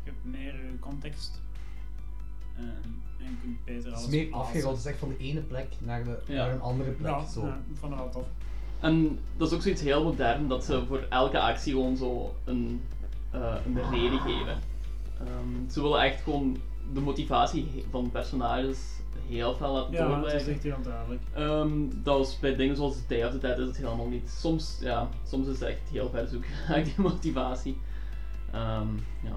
Je hebt meer eh, context. Ehm, en je kunt beter
Het
alles
is meer
plaatsen.
afgerold, het is echt van de ene plek naar, de,
Ja.
naar een andere plek.
Ja,
zo.
ja, ik vond het wel tof.
En dat is ook zoiets heel modern, dat ze voor elke actie gewoon zo een, eh, een reden geven. Ehm, ze willen echt gewoon de motivatie he- van personages heel veel laten
Ja, dat is
doorwerken.
echt heel duidelijk.
Ehm, dat was bij dingen zoals de Day of the Dead is het helemaal niet. Soms, ja, soms is het echt heel ver zoeken naar die motivatie. Ehm, ja.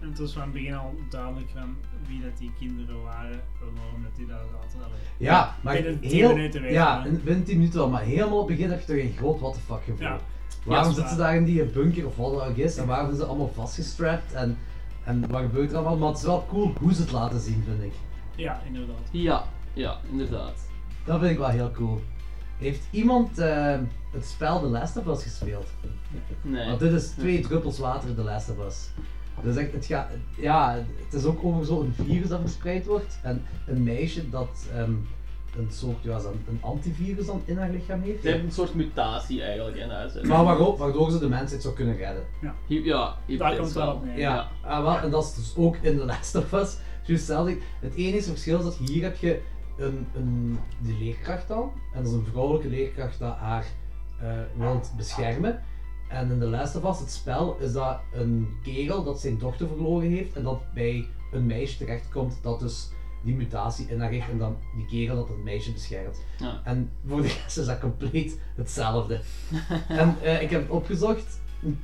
En het was van het begin al duidelijk van wie dat die kinderen waren, en waarom dat die daar zaten. Allee,
Ja, maar
binnen tien
heel,
minuten weten
ja,
we.
in- binnen 10 minuten wel, maar helemaal op het begin heb je toch een groot what the fuck gevoel.
Ja. Ja, dat
Waarom
is
zitten ze
waar.
daar in die bunker of wat dat ook is en waarom zijn ze allemaal vastgestrapt en, en wat gebeurt er allemaal? Maar het is wel cool hoe ze het laten zien, vind ik.
Ja, inderdaad.
Ja, ja, inderdaad.
Dat vind ik wel heel cool. Heeft iemand eh, het spel The Last of Us gespeeld?
Nee.
Want dit is twee druppels water The Last of Us. Dus echt, het gaat, ja, het is ook over zo'n virus dat verspreid wordt. En een meisje dat ehm, een soort, ja, zo'n- een antivirus dan in haar lichaam heeft.
Ze hebben een soort mutatie eigenlijk in huis.
Maar waarop, waardoor ze de mensheid zou kunnen redden.
Ja,
ja hypothetisch
komt
wel.
Ja,
Ja.
Ah, wel, en dat is dus ook in The Last of Us. Juist hetzelfde. Het enige verschil is dat hier heb je een, een, die leerkracht al. En dat is een vrouwelijke leerkracht dat haar eh wilt beschermen. En in The Last of Us, het spel, is dat een kerel dat zijn dochter verloren heeft. En dat bij een meisje terechtkomt dat dus die mutatie in haar heeft. En dan die kerel dat het meisje beschermt.
Ja.
En voor de rest is dat compleet hetzelfde. en eh, ik heb het opgezocht.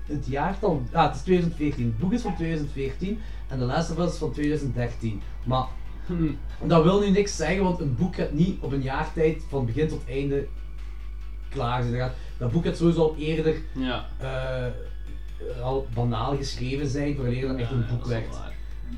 Het jaartal, ah, het is 2014. Het boek is van 2014 en de laatste was van 2013. Maar
Hm.
dat wil nu niks zeggen, want een boek gaat niet op een jaar tijd van begin tot einde klaar zijn. Dat gaat- Dat boek gaat sowieso al eerder
Ja.
eh, al banaal geschreven zijn voor dat echt een boek werd.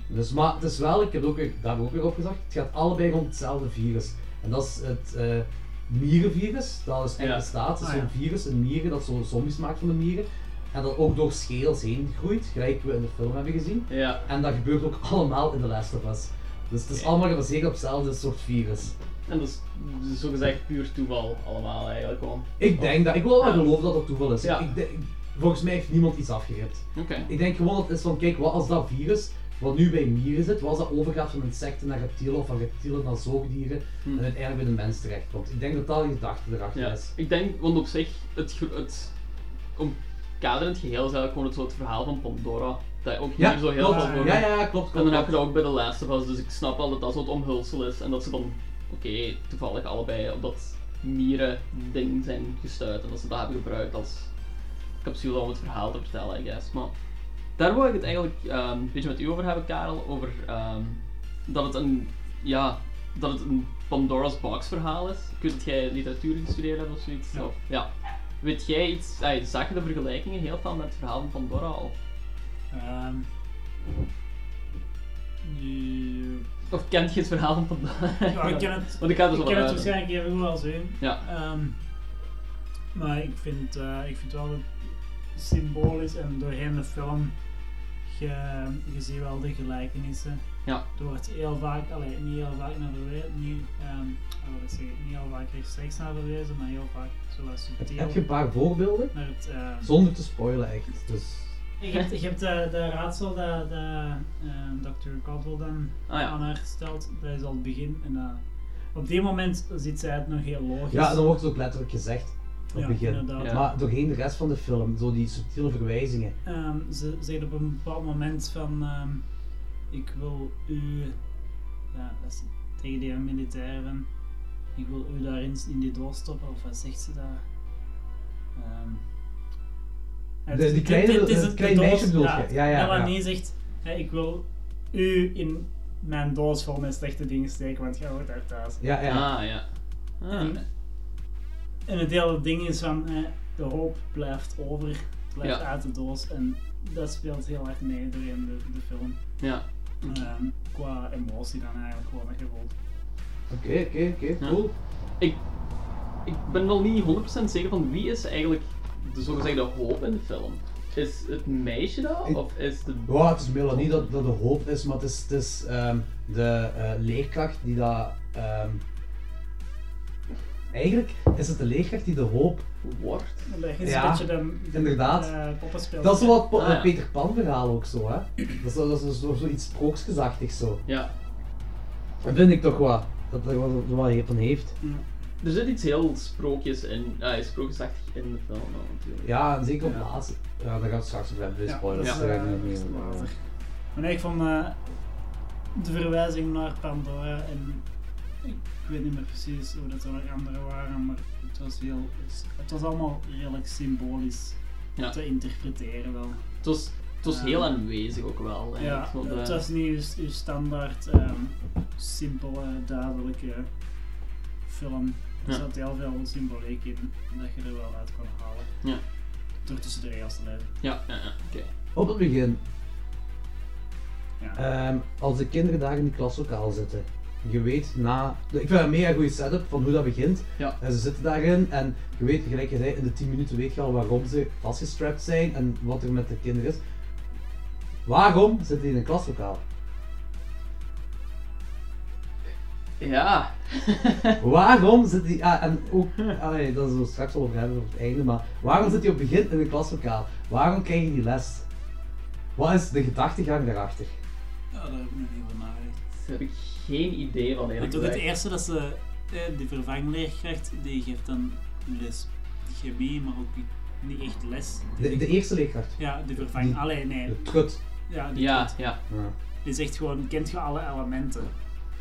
Dus, maar het is wel, ik heb het ook weer, daar ook weer op gezegd, het gaat allebei rond hetzelfde virus. En dat is het eh, mierenvirus, dat is echt
Ja.
bestaat. Het is
Ah, ja.
zo'n virus, een mieren, dat zo zombies maakt van de mieren. En dat ook door schedels heen groeit, gelijk we in de film hebben gezien.
Ja.
En dat gebeurt ook allemaal in de Last of Us. Dus het is allemaal gebaseerd op hetzelfde soort virus.
En dat is dus zogezegd puur toeval allemaal eigenlijk gewoon.
Ik denk dat, ik wil wel
Ja.
geloven dat dat toeval is. Ik denk- volgens mij heeft niemand iets afgeript.
Oké.
Ik denk gewoon dat het is van, kijk, wat als dat virus, wat nu bij mieren zit, wat als dat overgaat van insecten naar reptielen of van reptielen naar zoogdieren
Hmm.
en uiteindelijk bij de mens terechtkomt. Ik denk dat dat de gedachte erachter
Ja,
is.
ik denk, want op zich, het, gro- het omkaderend geheel is eigenlijk gewoon het, soort verhaal van Pandora. Dat ook
Ja,
hier zo heel
klopt.
veel voor.
Ja, ja, klopt, klopt,
En dan heb
klopt.
je dat ook bij The Last of Us, dus ik snap al dat dat zo'n omhulsel is en dat ze dan, oké, toevallig allebei op dat mieren-ding zijn gestuurd en dat ze dat hebben gebruikt als capsule om het verhaal te vertellen, I guess. Maar daar wil ik het eigenlijk ehm, een beetje met u over hebben, Karel, over ehm, dat het een, ja, dat het een Pandora's Box verhaal is. Ik weet dat jij literatuur gestudeerd hebt of zoiets.
Ja.
Of, ja. Weet jij iets, ay, zag je de vergelijkingen heel veel met het verhaal van Pandora? Of,
Ehm, die-
of kent je het verhaal van Pandora?
Ja, ik ken het,
Want ik dus ga er zo
ik
wat
ken het
uit.
waarschijnlijk even goed als hun.
Ja.
Ehm, maar ik vind, eh, ik vind wel dat het symbolisch en doorheen de film, je, je ziet wel de gelijkenissen.
Ja.
Er wordt heel vaak, allee, niet heel vaak naar verwezen, niet, ehm, hoe wil ik zeggen, niet heel vaak rechtstreeks naar verwezen, maar heel vaak zoals subtiel.
Heb je een paar voorbeelden?
Naar het, eh,
Zonder te spoilen echt. Dus.
je hebt, je hebt de, de raadsel dat, dat ehm, Dr. Caldwell dan
Ah, ja.
aan haar stelt. Dat is al het begin. En, eh, op die moment ziet zij het nog heel logisch.
Ja,
Dus-
en dan wordt het ook letterlijk gezegd op
Ja,
het begin.
inderdaad. Ja.
Maar doorheen de rest van de film, zo die subtiele verwijzingen.
Ehm, ze zegt op een bepaald moment van... ehm, ik wil u... Ja, dat is tegen die militair van... Ik wil u daarin in die doos stoppen. Of wat zegt ze daar? Ehm, ja, het
De-
is-
die kleine-
het is-
het
de
kleine
doos,
meisje bedoel
ja,
je? Ja, ja,
Melanie
ja.
zegt... hè, ik wil u in mijn doos vol met slechte dingen steken, want jij hoort daar thuis.
Ja, ja.
Ah, ja.
En, en het hele ding is van, eh, de hoop blijft over, blijft
Ja.
uit de doos. En dat speelt heel erg mee doorheen de, de film.
Ja.
Ehm, qua emotie dan eigenlijk gewoon dat je voelt.
Oké, oké, oké, cool.
Ik, ik ben wel niet 100% zeker van wie is eigenlijk de zogezegde hoop in de film. Is het meisje dat? Of is de...
Ja, het is Melanie dat, dat de hoop is, maar het is, het is ehm, de eh, leerkracht die dat. ehm, Eigenlijk is het de leerkracht die de hoop wordt.
Leg eens een beetje de- de,
inderdaad.
eh, poppenspeler.
dat is zo wat po-
Ah, ja.
dat Peter Pan verhaal ook zo, hè. Dat is, dat is zo, zoiets sprookjesachtigs zo.
Ja.
Dat vind ik toch wat, dat er wat, wat hij van heeft.
Hm.
Er zit iets heel sprookjes in, ah, sprookjesachtig in de film wel, natuurlijk.
Ja, en zeker op laatste. Ja, daar gaat het straks op hebben,
Ja,
spoilers.
dat
Ja.
is,
Daar ga ik
eh,
niet mee
dat is
over.
later. Maar nee, ik vond eh, de verwijzing naar Pandora en ik weet niet meer precies hoe dat er nog andere waren, maar het was, heel, het was allemaal redelijk symbolisch
Ja.
te interpreteren wel.
Het was, het was
Eh,
heel aanwezig ook wel.
Ja,
eigenlijk, want, eh,
het was niet uw, uw standaard ehm, simpele, duidelijke film. Er
Ja.
zat heel veel symboliek in dat je er wel uit kon halen.
Ja.
Door tussen de regels te lezen.
Ja, ja, ja, oké.
Op het begin. Ehm, als de kinderen daar in die klaslokaal zitten. Je weet na. Ik vind dat een mega goede setup van hoe dat begint.
Ja.
En ze zitten daarin en je weet, gelijk je zei, in de 10 minuten weet je al waarom ze vastgestrapt zijn en wat er met de kinderen is. Waarom zitten die in een klaslokaal?
Ja.
Oh. Waarom zit die, ah, en ook, allee, dat zullen we straks al over hebben op het einde, maar waarom zit hij op het begin in een klaslokaal? Waarom krijg je die les? Wat is de gedachtegang daarachter?
Ja, daar heb ik nog niet over nagedacht.
Daar heb ik geen idee van
Want
eigenlijk.
ook het eerste dat ze, eh, die vervangleerkracht, die geeft dan les chemie, maar ook niet- niet echt les.
De, de eerste leerkracht.
Ja, die vervang...
Die-
Allee, nee.
de trut. Ah,
Ja, die
Ja,
trut.
ja.
Die zegt gewoon, kent je alle elementen?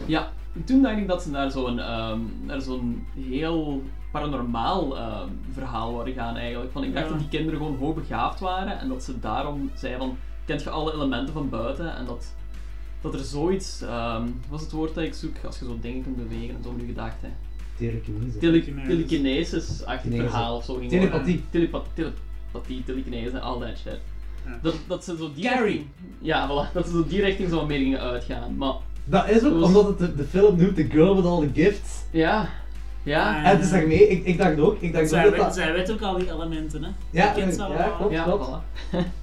Ja, toen dacht ik dat ze naar zo'n ehm, naar zo'n heel paranormaal ehm, verhaal waren gaan eigenlijk. Van, ik dacht
Ja.
dat die kinderen gewoon hoogbegaafd waren en dat ze daarom zeiden van, kent je alle elementen van buiten? En dat, dat er zoiets, ehm, wat was het woord dat ik zoek, als je zo dingen kunt bewegen en zo nu gedachten.
Telekinese.
Tele- Telekinesis-achtig
Kinese.
verhaal of zo. ging
Telepathie.
worden. Telepa- telepathie, telekinese, al dat shit.
Ja.
Dat, dat ze zo die richting, ja, voilà, dat ze zo die richting zo meer gingen uitgaan. Maar
Dat is ook
was-
omdat het de, de film noemt The Girl with All the Gifts.
Ja. Ja.
En het is daarmee, ik, ik dacht ook, ik dacht
Zij,
ook
weet-
dat dat...
zij weet ook al die elementen, hè?
Ja,
Je kent ze
ja,
allemaal.
klopt,
Ja,
klopt.
voilà.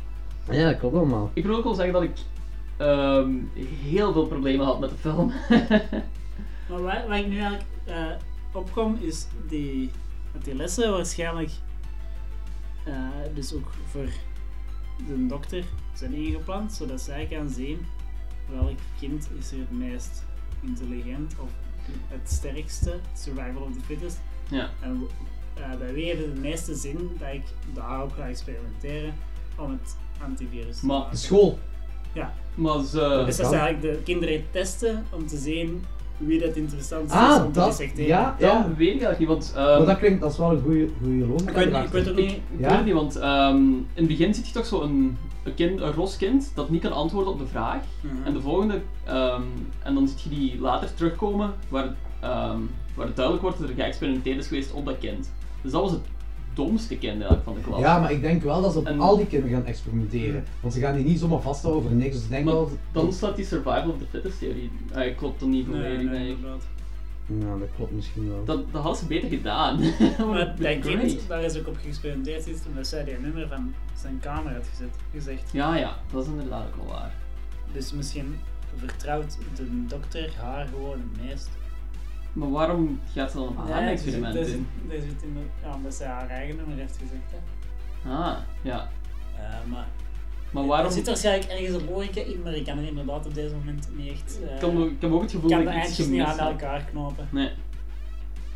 Ja, klopt allemaal.
Ik wil ook wel zeggen dat ik ehm, heel veel problemen had met de film.
Maar waar, waar ik nu eigenlijk eh, opkom is die, dat die lessen waarschijnlijk eh, dus ook voor de dokter zijn ingepland, zodat zij kan zien welk kind is er het meest intelligent of het sterkste, survival of the fittest.
Ja.
En eh, bij wie heeft het de meeste zin dat ik daarop ga experimenteren om het antivirus te
Maar
maken.
school.
Ja.
Maar ze...
dus dat ze eigenlijk de kinderen testen om te zien wie dat interessant is om
Ah,
te
dat,
dissecteren.
ja, ja.
weet ik eigenlijk niet, want...
maar dat klinkt, dat is wel een goede goede logica
Ik weet, niet, ik
erachter.
weet het niet. Ik
Ja?
weet het niet, want ehm, in het begin ziet je toch zo'n een, een, kind- een ros kind dat niet kan antwoorden op de vraag.
Mhm.
En de volgende, ehm, en dan zie je die later terugkomen waar, ehm, waar het duidelijk wordt dat er geëxperimenteerd is geweest op dat kind. Dus dat was het domste kind eigenlijk van de klas.
Ja, maar ik denk wel dat ze op al die kinderen gaan experimenteren.
Mhm.
Want ze gaan die niet zomaar vasthouden voor niks. Dus ik denk wel... dat-
Dan staat die survival of the fittest theorie. Eh, klopt dan niet voor mij.
Ja, dat klopt misschien wel.
Dat, dat had ze beter gedaan.
Maar dat
Great.
kind, daar is ook op geëxperimenteerd is, omdat zij die nummer van zijn kamer had gezet, gezegd.
Ja, ja, dat is inderdaad ook wel waar.
Dus misschien vertrouwt de dokter haar gewoon het meest.
Maar waarom gaat ze dan op haar
Nee,
experiment
dat is-
doen?
dat is het in de- ja, omdat zij haar eigen nummer heeft gezegd. Hè. Eh,
Ah, ja.
maar...
Maar waarom...
Er zit waarschijnlijk ergens een logica in, maar ik kan het inderdaad op deze moment niet echt... eh,
Ik heb ook- ik heb ook het gevoel
kan
dat
de
ik iets
eindjes niet
gemist
aan
heb.
elkaar knopen.
Nee.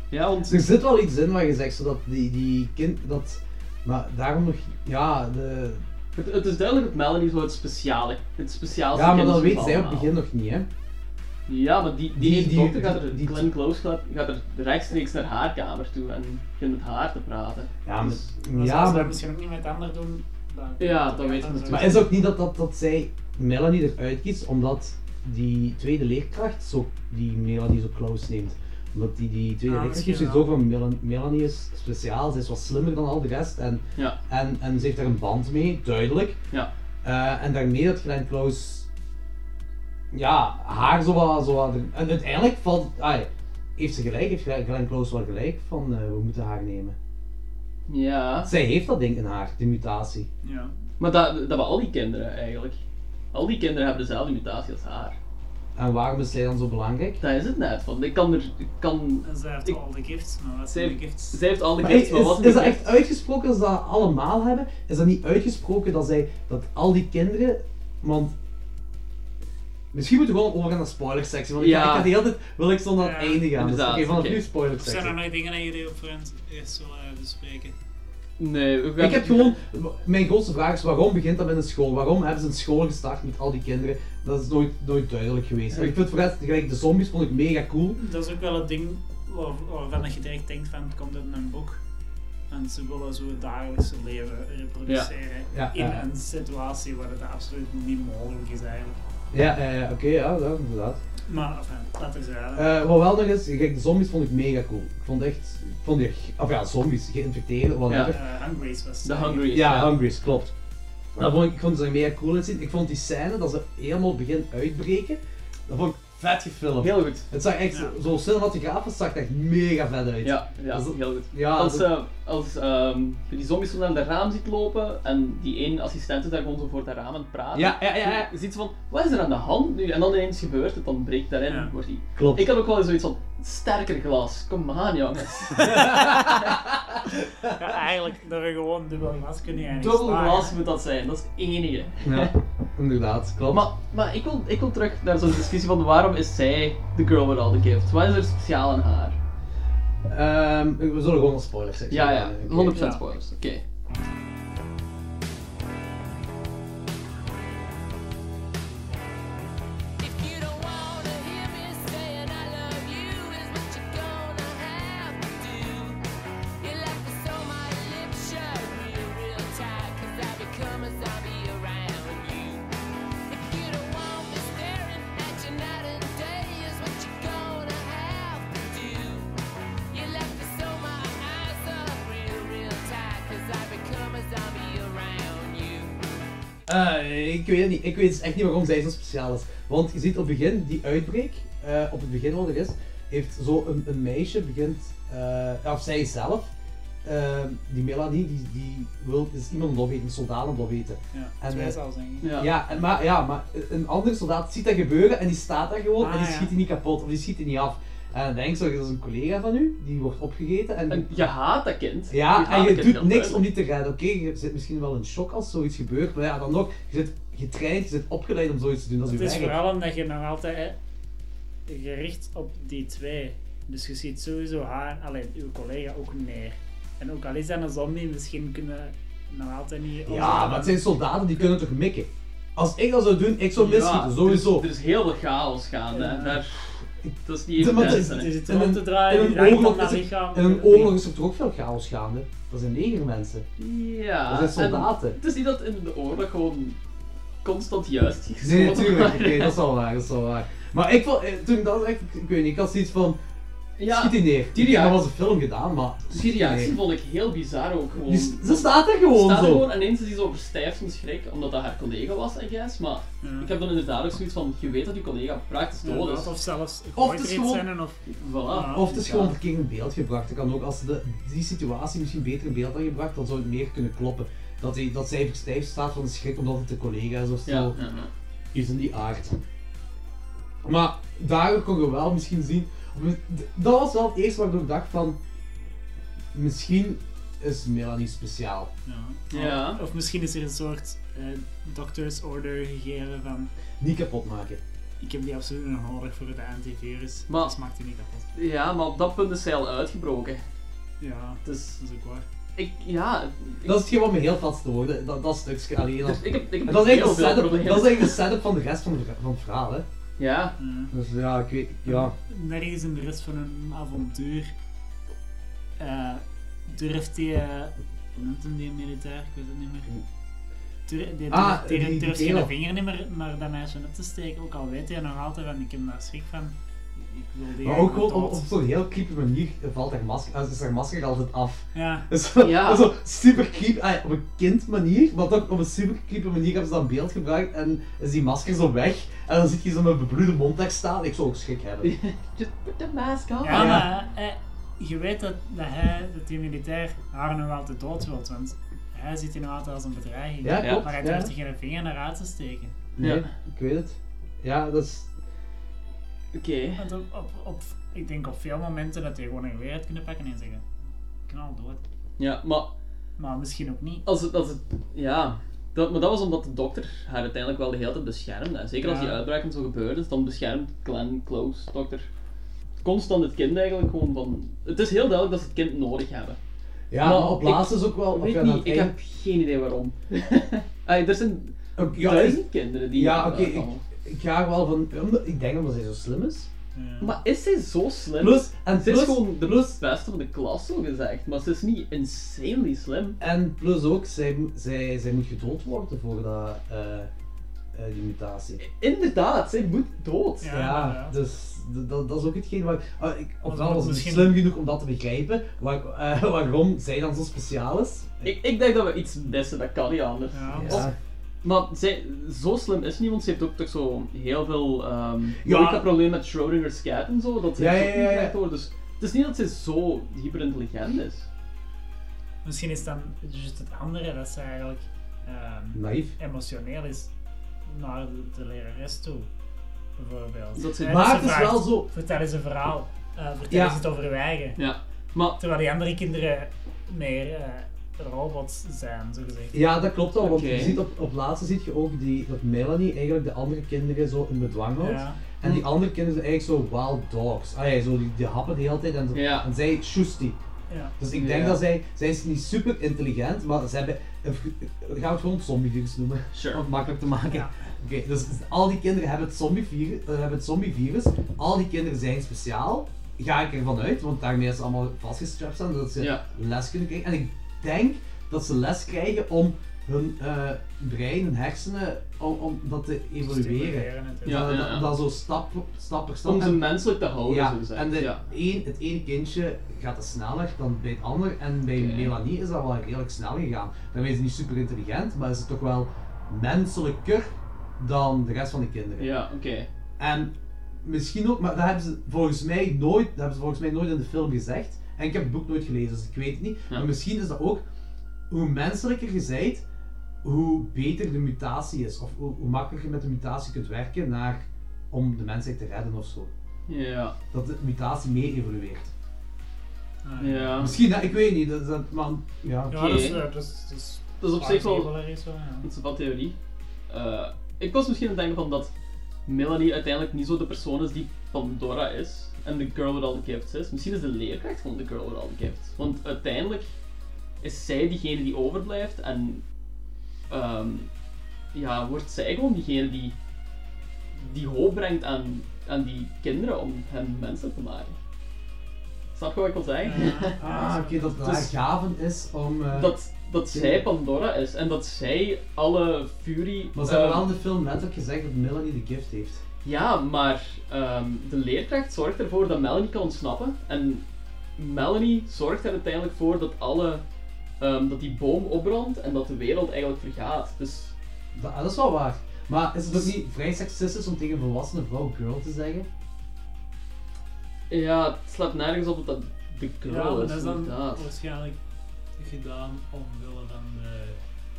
Ja, want...
Er zit wel iets in wat je zegt, zodat die, die kind... Dat, maar daarom nog... Ja, de,
Het, het is duidelijk dat Melanie zo het speciale... Het speciaalste
ja maar
kind
dat
is
weet
van
zij op het
allemaal.
begin nog niet, hè.
Ja, maar die, die,
Die-
ene
die-
dokter gaat er... Glenn Close gaat, gaat er rechtstreeks naar haar kamer toe en begint met haar te praten.
Ja, maar-
Dus-
Maar
Ja,
ja,
maar-
maar... misschien ook niet met ander doen. Dan,
Ja, dat weet ik natuurlijk.
Maar is ook niet dat, dat, dat zij Melanie eruit kiest, omdat die tweede leerkracht zo, die Melanie zo close neemt. Omdat die, die tweede
Ah,
leerkracht
misschien
heeft
wel.
zo van Melan- Melanie is speciaal, ze is wat slimmer dan al de rest en,
Ja.
en, en ze heeft daar een band mee, duidelijk.
Ja.
Eh, en daarmee dat Glenn Close ja, haar zo wat, zo wat- En uiteindelijk valt, ah, heeft ze gelijk, heeft Glenn Close wel gelijk van eh, we moeten haar nemen.
Ja.
Zij heeft dat ding in haar, die mutatie.
Ja.
Maar dat, dat waren al die kinderen eigenlijk. Al die kinderen hebben dezelfde mutatie als haar.
En waarom is zij dan zo belangrijk?
Dat is het net, want ik kan er... Ik kan,
Ze heeft al de gifts, maar wat
zij,
zijn de
heeft,
gifts?
zij heeft al de
Maar
gifts, maar
is,
wat
is
de
dat
gift-
echt uitgesproken dat ze dat allemaal hebben? Is dat niet uitgesproken dat zij, dat al die kinderen, want misschien moeten we gewoon over naar de spoilersectie, want ik,
Ja.
ga, ik ga de hele tijd, wil ik zo naar het einde gaan. Dus,
inderdaad,
oké, vanaf
oké.
nu
Of zijn
spoilersectie.
er nog dingen die jullie op voorhand eerst willen bespreken?
Nee, we gaan-
Ik heb gewoon, mijn grootste vraag is waarom begint dat met een school? Waarom hebben ze een school gestart met al die kinderen? Dat is nooit, nooit duidelijk geweest.
Ja.
Ik vind voor het gelijk de zombies vond ik mega cool.
Dat is ook wel het ding waar- waarvan dat je direct denkt van, het komt uit een boek. En ze willen zo het dagelijkse leven reproduceren
Ja. Ja,
in
ja.
een situatie waar het absoluut niet mogelijk is eigenlijk.
Ja, eh, oké, ja, dat, inderdaad.
Maar, enfin, dat is eigenlijk.
Eh, wat wel nog is, kijk, de zombies vond ik mega cool. Ik vond echt, ik vond die, of ja, zombies, geïnfecteerd, whatever.
Eh, Hungries was het
De
eigenlijk.
Hungries.
Ja, Hungries, klopt. Dat vond ik, ik vond ze er mega cool uitzien. Ik vond die scène dat ze helemaal begin uitbreken, dat vond ik vet gefilmd.
Heel goed.
Het zag echt,
Ja.
zo cinematografisch zag het echt mega vet uit.
Ja, ja
Dus dat-
heel goed.
Ja,
als
dat-
eh, als ehm, je die zombies zo naar de raam ziet lopen en die ene assistent is daar gewoon zo voor dat raam aan het praten.
Ja, ja, ja, ja.
Je ziet van, wat is er aan de hand nu? En dan ineens gebeurt het, dan breekt daarin. Wordt die...
Klopt.
Ik had ook wel eens zoiets van, sterker glas, kom aan jongens.
Ja, eigenlijk, dat we gewoon dubbel glas kunnen eigenlijk
Dubbel
slagen.
glas moet dat zijn, dat is het enige.
Ja, inderdaad, klopt.
Maar, maar ik, wil, ik wil terug naar zo'n discussie van waarom is zij de girl with all the gifts? Wat is er speciaal aan haar?
Ehm, we zullen gewoon een spoiler sectie
Ja, ja,
doen, Eh, oké?
100% spoilers. Oké.
Eh, ik weet het niet. Ik weet dus echt niet waarom zij zo speciaal is. Want je ziet op het begin, die uitbreek, eh, op het begin wat er is, heeft zo een, een meisje begint, eh, of zij zelf, eh, die Melanie, die, die wil is iemand lof eten, een soldaat een lof eten.
Ja, twee
eh,
zelfs, denk ik.
Ja, en, maar, ja, maar een andere soldaat ziet dat gebeuren en die staat daar gewoon en die
Ah, ja.
schiet die niet kapot of die schiet die niet af. En dan denk je, dat is een collega van u, die wordt opgegeten en...
En je haat dat kind.
Ja, en
haat
je
dat kind
doet
heel
niks
duidelijk.
om die te redden. Oké, je zit misschien wel in shock als zoiets gebeurt, maar ja, dan nog, je zit getraind, je zit opgeleid om zoiets te doen. Dat is
Het
je
is
werk.
vooral omdat je nog altijd eh, gericht op die twee. Dus je ziet sowieso haar, alleen uw collega ook neer. En ook al is dat een zombie, misschien kunnen we nog altijd niet.
Ja, maar het zijn soldaten, die kunnen toch mikken? Als ik dat zou doen, ik zou
Ja, dus
misschieten, sowieso.
Er is, er is heel veel chaos gaande. en Daar, dat is niet
Ja,
even
maar
te
het is-
hè.
het is
het rond te draaien,
in
die
een
hangt
oorlog
om dat
is er-
lichaam.
in een oorlog is er toch ook veel chaos gaande? Dat zijn negermensen.
Ja,
Dat zijn
en
soldaten.
Het is niet dat in de oorlog gewoon constant juist is.
Nee,
geschoten
natuurlijk. Oké,
wordt.
dat is wel waar, dat is wel waar. Maar ik vond, eh, toen ik dat echt, ik weet niet, ik had zoiets van,
Ja,
schiet die neer.
die
Die ja, dat
reactie-
was een film gedaan, maar schiet
Die
die
reactie
neer.
vond ik heel bizar ook gewoon.
Die s- ze staat er gewoon
staat er
zo.
gewoon en ineens is die zo verstijfd van schrik, omdat dat haar collega was, I guess. Maar ik heb dan inderdaad ook zoiets van, je weet dat die collega praktisch dood is.
Of zelfs
Of het is
gehoord
gewoon-
zijn of.
Voilà.
Of het is gewoon verkeerd in beeld gebracht. Dat kan ook, als ze de, die situatie misschien beter in beeld had gebracht, dan zou het meer kunnen kloppen. Dat, hij, dat zij verstijfd staat van de schrik omdat het de collega is of zo.
Ja, ja, ja.
Iets in die aard. Maar daardoor kon je wel misschien zien. Dat was wel het eerste waardoor ik dacht van. Misschien is Melanie speciaal.
Ja.
Ja.
Of misschien is er een soort eh, doctor's order gegeven van.
Niet kapot maken.
Ik heb die absoluut nog nodig voor het antivirus.
Maar-
dat maakt die niet kapot.
Ja, maar op dat punt is zij al uitgebroken.
Ja,
Dus
dat is ook waar.
ik, ja, ik-
Dat is hetgeen wat me heel vast te worden, dat, dat stukje alleen al.
Dus ik heb- ik heb
En dat, is
heel
eigenlijk de
veel
setup,
problemen.
dat is eigenlijk de setup van de rest van, de- van het verhaal, hè.
ja.
Dus ja, ik weet, ja.
nergens in de rest van hun avontuur eh, durft die, eh, hoe noemt hem die militair, ik weet het niet meer. Dur- die
Ah,
durft- die
die- die
durft geen
kerel.
vinger niet meer naar dat meisje op te steken, ook al weet hij nog altijd van ik heb daar schrik van. Ik wil die
Maar ook
eigenlijk
gewoon op,
dood.
op zo'n heel creepy manier valt haar masker, eh, is haar masker altijd af.
Ja.
Dus, zo-
Ja.
Zo super creepy, eh, op een kind manier, maar toch op een super creepy manier hebben ze dat beeld gebruikt en is die masker zo weg. En dan zit je zo met bebloede mondtek staan, ik zou ook schrik hebben.
Just put the mask on.
Ja, Ah, maar eh, je weet dat, dat hij, dat die militair haar nog altijd dood wilt, want hij ziet die nog altijd als een bedreiging.
Ja, klopt,
maar hij
ja.
durft er geen vinger naar uit te steken.
Nee, ik weet het. Ja, dat is...
Oké.
Want op, op, op- ik denk op veel momenten dat je gewoon een geweer had kunnen pakken en zeggen: knal dood.
Ja, maar...
Maar misschien ook niet.
Als het, als het, ja, dat, maar dat was omdat de dokter haar uiteindelijk wel de hele tijd beschermde. En Zeker als die
Ja.
uitbraken zo gebeurd is, dan beschermt Glenn Close, dokter, constant het kind eigenlijk gewoon van... Het is heel duidelijk dat ze het kind nodig hebben.
Ja, maar op
ik
laatst is ook wel- of
Weet
ja,
niet,
dat
ik
hij-
heb geen idee waarom. Ay, er zijn
ja,
duizend
ik-
kinderen die...
Ja, oké,
eh,
ik, ik ga er wel van. omdat- Ik denk omdat zij zo slim is.
Maar is zij zo slim?
Plus- en
ze is
plus-
gewoon de beste van de klas, zo gezegd. Maar ze is niet insanely slim.
En plus ook, zij, mo- zij, zij moet gedood worden voor dat, eh, eh, die mutatie.
Inderdaad, zij moet dood.
Ja, dus d- dat, dat is ook hetgeen waar. ah, ik,
Want
ofwel was
misschien-
het slim genoeg om dat te begrijpen, waar, eh, waarom zij dan zo speciaal is.
Ik, ik denk dat we iets missen, dat kan niet anders.
Oh.
Ja.
Of- maar zij, zo slim is niet, want ze heeft ook toch zo heel veel... ehm
Ja.
ja. dat probleem met Schrodinger's cat en zo, dat ze
Ja,
ook
ja,
niet
ja, ja.
echt door. Dus het is niet dat ze zo hyperintelligent is.
Misschien is dan juist het andere dat ze eigenlijk ehm,
Naïef.
emotioneel is naar de, de lerares toe, bijvoorbeeld.
Dat ze-
Hè,
Maar
ze
het is
vraagt,
wel zo-
Vertel eens een verhaal, eh, vertel
Ja.
eens het over uw eigen.
Ja, maar-
Terwijl die andere kinderen meer eh, robots zijn, zo gezegd.
Ja, dat klopt al, want
Oké.
je ziet op, op laatste ziet je ook die, dat Melanie eigenlijk de andere kinderen zo in bedwang houdt.
Ja.
En die andere kinderen zijn eigenlijk zo wild dogs. Ah ja, zo die, die happen de hele tijd en, zo, en zij shoest die.
Ja.
Dus ik denk
Ja.
dat zij, zij is niet super intelligent, maar ze hebben, we gaan het gewoon zombievirus noemen, om het makkelijk te maken. Oké, dus al die kinderen hebben het zombievirus, hebben het zombievirus, al die kinderen zijn speciaal, ga ik ervan uit, want daarmee is ze allemaal vastgestrapt staan, dat ze
Ja.
les kunnen krijgen. En ik denk dat ze les krijgen om hun eh, brein, hun hersenen, om, om dat te evolueren.
Stimuleren, natuurlijk.
Ja,
Ja,
dat,
ja, ja.
dat zo stap, stap per stap.
Om ze
en-
menselijk te houden,
ja,
zo gezegd,
En de,
ja.
één, het één kindje gaat dat sneller dan bij het ander. En bij Melanie is dat wel redelijk snel gegaan. Daarmee is ze niet super intelligent, maar is het toch wel menselijker dan de rest van de kinderen.
Ja, oké.
En misschien ook, maar dat hebben ze volgens mij nooit, dat hebben ze volgens mij nooit in de film gezegd. En ik heb het boek nooit gelezen, dus ik weet het niet. Maar misschien is dat ook, hoe menselijker je zijt, hoe beter de mutatie is. Of hoe, hoe makkelijker je met de mutatie kunt werken naar, om de mensheid te redden of zo.
Ja.
Dat de mutatie mee evolueert.
Ja.
Misschien, hè, ik weet niet. Dat, dat, maar, ja.
Oké.
eh, dus-
Dat is op zich wel
plausibel ergens wel, ja.
dat is wel theorie. Eh, ik was misschien aan het denken van dat Melanie uiteindelijk niet zo de persoon is die Pandora is en The Girl With All The Gifts is. Misschien is de leerkracht van The Girl With All The Gifts. Want uiteindelijk is zij diegene die overblijft en ehm, ja, wordt zij gewoon diegene die, die hoop brengt aan, aan die kinderen om hen mensen te maken. Snap je wat ik wil zeggen?
Ah, oké, dat dat haar
Dus-
gaven is om... eh,
dat, dat zij Pandora is en dat zij alle fury.
Maar ze
ehm,
hebben wel in de film letterlijk gezegd dat Melanie de gift heeft.
Ja, maar ehm, de leerkracht zorgt ervoor dat Melanie kan ontsnappen. En Melanie zorgt er uiteindelijk voor dat, alle, ehm, dat die boom opbrandt en dat de wereld eigenlijk vergaat. Dus
Dat, ah, dat is wel waar. Maar is het ook niet vrij seksistisch om tegen een volwassene vrouw girl te zeggen?
ja, het slaat nergens op dat dat de
Ja,
girl
maar
is,
dat is dan
inderdaad.
waarschijnlijk gedaan omwille van de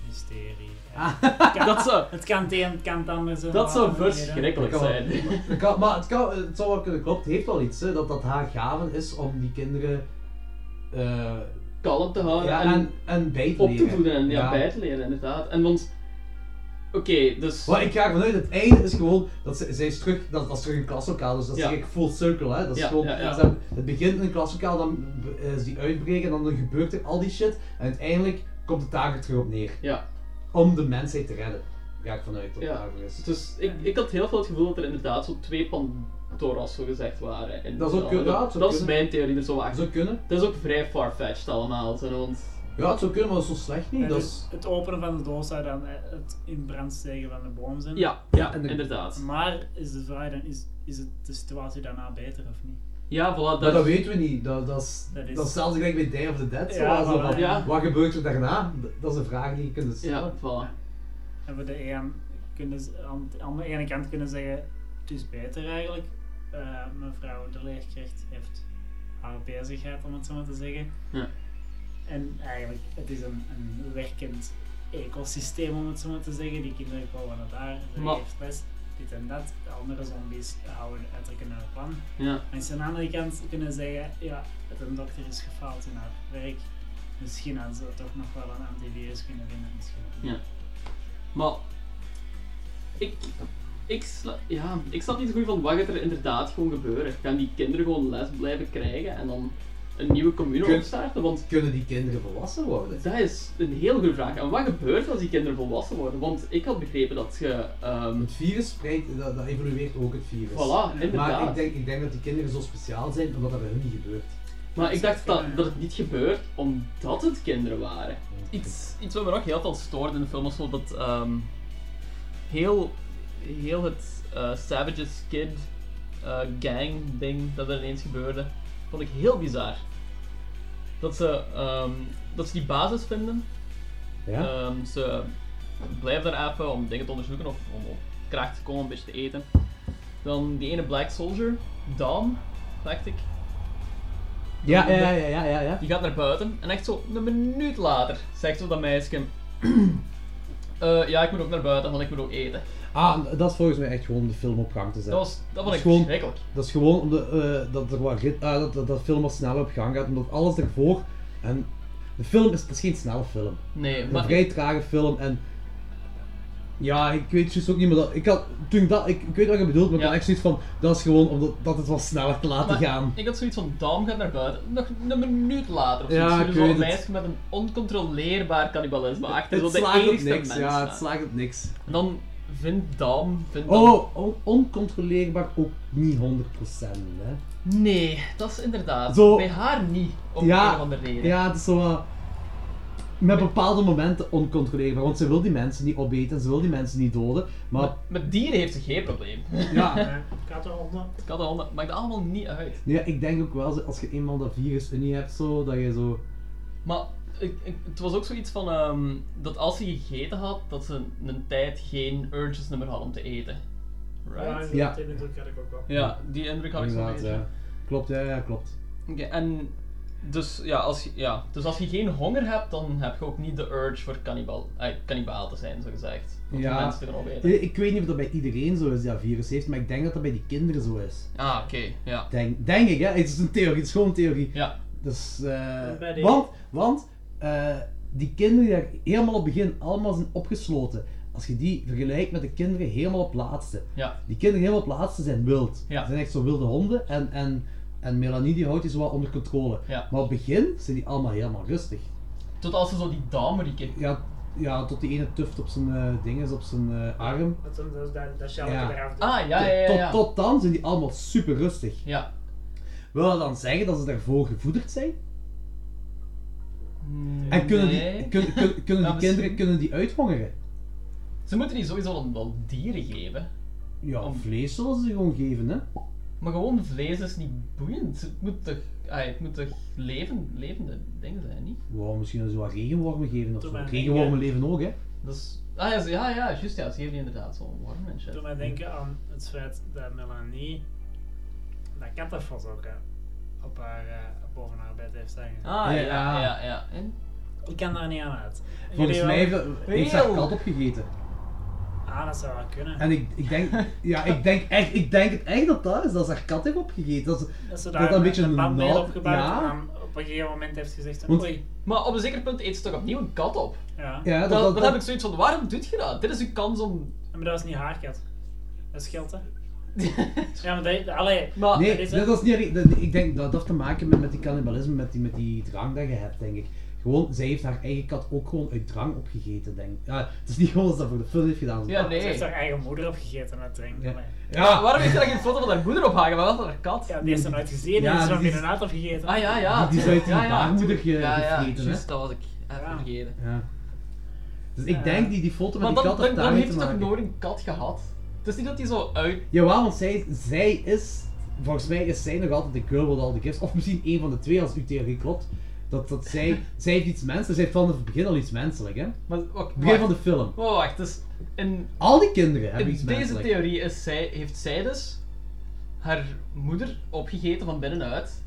mysterie.
Ah.
Het kan-
Dat zou-
Het kan het een, het kan het ander zijn.
Dat zou
maar-
verschrikkelijk
zijn.
Dat kan, maar het, kan, het zou wel kunnen kloppen. Het heeft wel iets, hè, dat dat haar gaven is om die kinderen... eh,
kalm te houden
Ja,
en,
en- en bij te
op te
leren.
voeden en ja,
Ja.
bij te leren, inderdaad. En want, oké, dus...
Maar ik ga ervan uit, het einde is gewoon dat ze, zij is terug, dat, dat is terug een klaslokaal, dus dat is
Ja.
eigenlijk full circle. Hè? Dat is
Ja,
gewoon,
ja, ja.
ze hebben- het begint in een klaslokaal, dan eh, is die uitbreken, dan gebeurt er al die shit en uiteindelijk komt de taak er terug op neer.
Ja.
Om de mensheid te redden, ga ik vanuit dat
Ja,
daarvoor is.
dus ik, ik had heel veel het gevoel dat er inderdaad zo twee Pandora's zo gezegd waren. En
Dat zou
zo.
kunnen, ja, het
dat
zou
is
kunnen.
mijn theorie er zo achter.
zou kunnen.
Dat is ook vrij far-fetched allemaal, zijn ons.
Ja, het zou kunnen, maar dat is zo slecht niet.
En
dat
dus
is-
Het openen van de doos zou dan eh, het in brand steken van de boom zijn.
Ja, ja, En de- inderdaad.
Maar is de vraag dan, is, is het de situatie daarna beter of niet?
Ja, voilà,
Maar
dat-
dat, weten we niet. Dat, dat, is,
Dat
dat,
is-
is... zelfs gelijk bij Day of the Dead. zo,
Ja,
als dat
voilà,
van,
ja.
Wat gebeurt er daarna? Dat- Dat is een vraag die je kunt stellen.
Ja, voilà.
En we de een kunnen, z- aan, de- aan de ene kant kunnen zeggen, het is beter eigenlijk. Eh, mevrouw de leerkracht heeft haar bezigheid, om het zo maar te zeggen.
Ja.
En eigenlijk, het is een, een werkend ecosysteem, om het zo maar te zeggen. Die kinderen komen naar daar, ze
Maar-
heeft les. dit en dat. De andere zombies houden uitdrukken naar plan.
Ja.
Maar ze aan de andere kant kunnen zeggen, ja, de dokter is gefaald in haar werk. Misschien hadden ze toch nog wel een antivirus kunnen vinden. Misschien.
Ja. Maar ik, ik, sla- ja, ik snap niet zo goed van wat gaat er inderdaad gewoon gebeuren. Gaan die kinderen gewoon les blijven krijgen en dan een nieuwe commune
Kun-
opstarten? Want
Kunnen die kinderen volwassen worden?
dat is een heel goede vraag. En wat gebeurt als die kinderen volwassen worden? Want ik had begrepen dat je... ehm,
Het virus spreidt, dat, dat evolueert ook het virus.
Voilà, inderdaad.
Maar ik denk, ik denk dat die kinderen zo speciaal zijn omdat dat bij hun niet gebeurt.
Maar ik dacht dat, dat het niet gebeurt omdat het kinderen waren.
Iets,
iets wat me nog heel veel stoort in de film was wel dat ehm, heel, heel het eh, Savages Kid eh, gang ding dat er ineens gebeurde, vond ik heel bizar. Dat ze, ehm, dat ze die basis vinden.
Ja.
Ehm, ze blijven daar even om dingen te onderzoeken of om op kracht te komen, een beetje te eten. Dan die ene Black Soldier, Dam, dacht ik.
Ja, ja, ja, ja, ja, ja.
Die gaat naar buiten en echt zo een minuut later zegt zo dat meisje: "Eh, Ja, ik moet ook naar buiten, want ik moet ook eten.
Ah, dat is volgens mij echt gewoon de film op gang te zetten.
Dat was- dat vond
is
ik
gewoon-
verschrikkelijk.
Dat is gewoon om de, eh, dat, er wat rit, ah, dat, dat, dat film wat sneller op gang gaat, omdat alles ervoor. En de film is, het is geen snelle film.
Nee,
een
maar-
vrij trage film en. Ja, ik weet juist ook niet meer dat. Ik had, toen ik dat, ik, ik weet wat je bedoelt, maar dan echt zoiets van. Dat is gewoon omdat dat het wat sneller te laten
Maar
gaan.
Ik had zoiets van: Dam gaat naar buiten, nog een minuut later. Of
Ja,
zoiets.
ik
Dus zo'n
weet het.
meisje met een oncontroleerbaar cannibalisme achter.
het
zo de
slaagt op
enigste
niks,
mens,
ja, het slaagt op niks.
En dan vindt Dam. Vindt Dam-
Oh, on- oncontroleerbaar ook niet 100%. Hè.
Nee, dat is inderdaad.
Zo-
Bij haar niet, om een of andere reden.
Ja, het is zo wat- met bepaalde momenten oncontroleerbaar, want ze wil die mensen niet opeten, ze wil die mensen niet doden, maar...
Met dieren heeft ze geen probleem. Eh,
Ja.
Katten, honden. Katten, honden. Maakt dat allemaal niet uit.
Nee, ik denk ook wel, zo, als je eenmaal dat virus in je hebt, zo, dat je zo...
Maar ik- ik- het was ook zoiets van ehm, dat als ze gegeten had, dat ze een tijd geen urges meer had om te eten. Right?
Ja,
die
die
indruk had ik ook wel. Ja, die indruk had ik zo'n
Inderdaad,
beetje.
ja. Klopt, ja, ja, klopt.
Oké, en dus ja, als je, ja, dus als je geen honger hebt, dan heb je ook niet de urge voor cannibal, eh, kannibaal te zijn, zo gezegd. Om
Ja. Eh.
mensen te gaan opeten.
Ik, ik weet niet of dat bij iedereen zo is die dat virus heeft, maar ik denk dat dat bij die kinderen zo is.
Ah, oké, ja.
Denk, denk ik, hè? Het is een theorie, het is gewoon een theorie.
Ja.
Dus, eh,
En bij die-
want want eh, die kinderen die daar helemaal op het begin allemaal zijn opgesloten, als je die vergelijkt met de kinderen helemaal op laatste.
Ja.
Die kinderen helemaal op laatste zijn wild.
Ja.
zijn echt zo wilde honden en, en, en Melanie die houdt die zo wat onder controle.
Ja.
Maar op het begin zijn die allemaal helemaal rustig.
Tot als ze zo die damerieken.
Ja, ja, tot die ene tuft op zijn eh ding is, op zijn eh, arm.
Dat, dat, dat, dat, dat
Ja.
shell eraf doet.
Ah, ja, ja, ja.
Tot,
ja.
tot dan zijn die allemaal super rustig.
Ja.
Wil dat dan zeggen dat ze daarvoor gevoederd zijn? En kunnen die,
Nee.
kun- kun- kunnen
Ja,
die kinderen kunnen die uithongeren?
Ze moeten die sowieso wel- wel dieren geven.
Ja, vlees zullen ze gewoon geven, hè?
Maar gewoon vlees is niet boeiend. Het moet toch, ai, het moet toch leven, levende dingen zijn, niet?
Wow, misschien ze wat regenwormen geven of
Doe
zo.
maar,
Regenwormen
denk, hè.
leven ook, hè?
Dus, ah ja, ze- ja, ja, juist, ja, ze geven die inderdaad zo'n worm en shit. Ah,
Doe mij denken aan het feit dat Melanie dat kattenvos ook eh, op haar, eh, boven haar bed heeft hangen.
Ah, ja, ja, ja. En?
Ik kan daar niet aan uit.
Volgens mij heeft, heeft ze haar kat opgegeten.
Ah, dat zou wel kunnen.
En ik, ik denk, ja, ik denk echt, ik denk het echt dat dat is, dat ze haar kat heeft opgegeten. Dat, ze,
dat ze
dat
daar
dat een beetje een
band mee
nauw-
heeft opgebouwd en
Ja,
dan op een gegeven moment heeft gezegd van
Want-
oei.
Maar op een zeker punt eet ze toch opnieuw een kat op?
Ja.
Ja, dat-
dan,
dat-
dan
dat-
heb ik zoiets van, waarom doet je dat? Dit is uw kans om...
Maar dat is niet haar kat. Dat scheelt hè. ja, maar dat, allee.
nee,
dat is
dat
het.
was niet, dat- ik denk dat dat heeft te maken met, met die cannibalisme, met die, met die drang dat je hebt, denk ik. Gewoon, zij heeft haar eigen kat ook gewoon uit drang opgegeten, denk ik. Ja, het is niet gewoon dat ze dat voor de film heeft gedaan.
Ze heeft haar eigen moeder opgegeten en dat drinken.
Ja.
allee.
Ja.
Waarom heeft je dan geen foto van haar moeder ophangen? Waar was dat haar kat?
Ja, die is er nooit gezien, die
Ja,
is er
die
nog
is-
in een naad opgegeten.
Ah ja, ja.
Die is uit die
ja, ja,
baarmoeder ge-
Ja, ja,
gevreten, hè?
juist, dat was ik even vergeten.
Ja. Dus ik denk die, die foto met
Maar
die
dan,
kat
dan,
heeft
dan
daarmee
heeft
te
hij toch
maken.
nooit een kat gehad? Het is niet dat hij zo uit...
Jawel, want zij, zij is, volgens mij is zij nog altijd de girl with all the gifts, of misschien een van de twee als uw theorie klopt, dat, dat zij, zij heeft iets menselijks, zij heeft vanaf het begin al iets menselijk, hè?
Maar, wacht,
Begin van
wacht.
de film.
Oh, wacht, dus in,
Al die kinderen hebben
in
iets
deze
menselijk.
theorie is zij, heeft zij dus haar moeder opgegeten van binnenuit.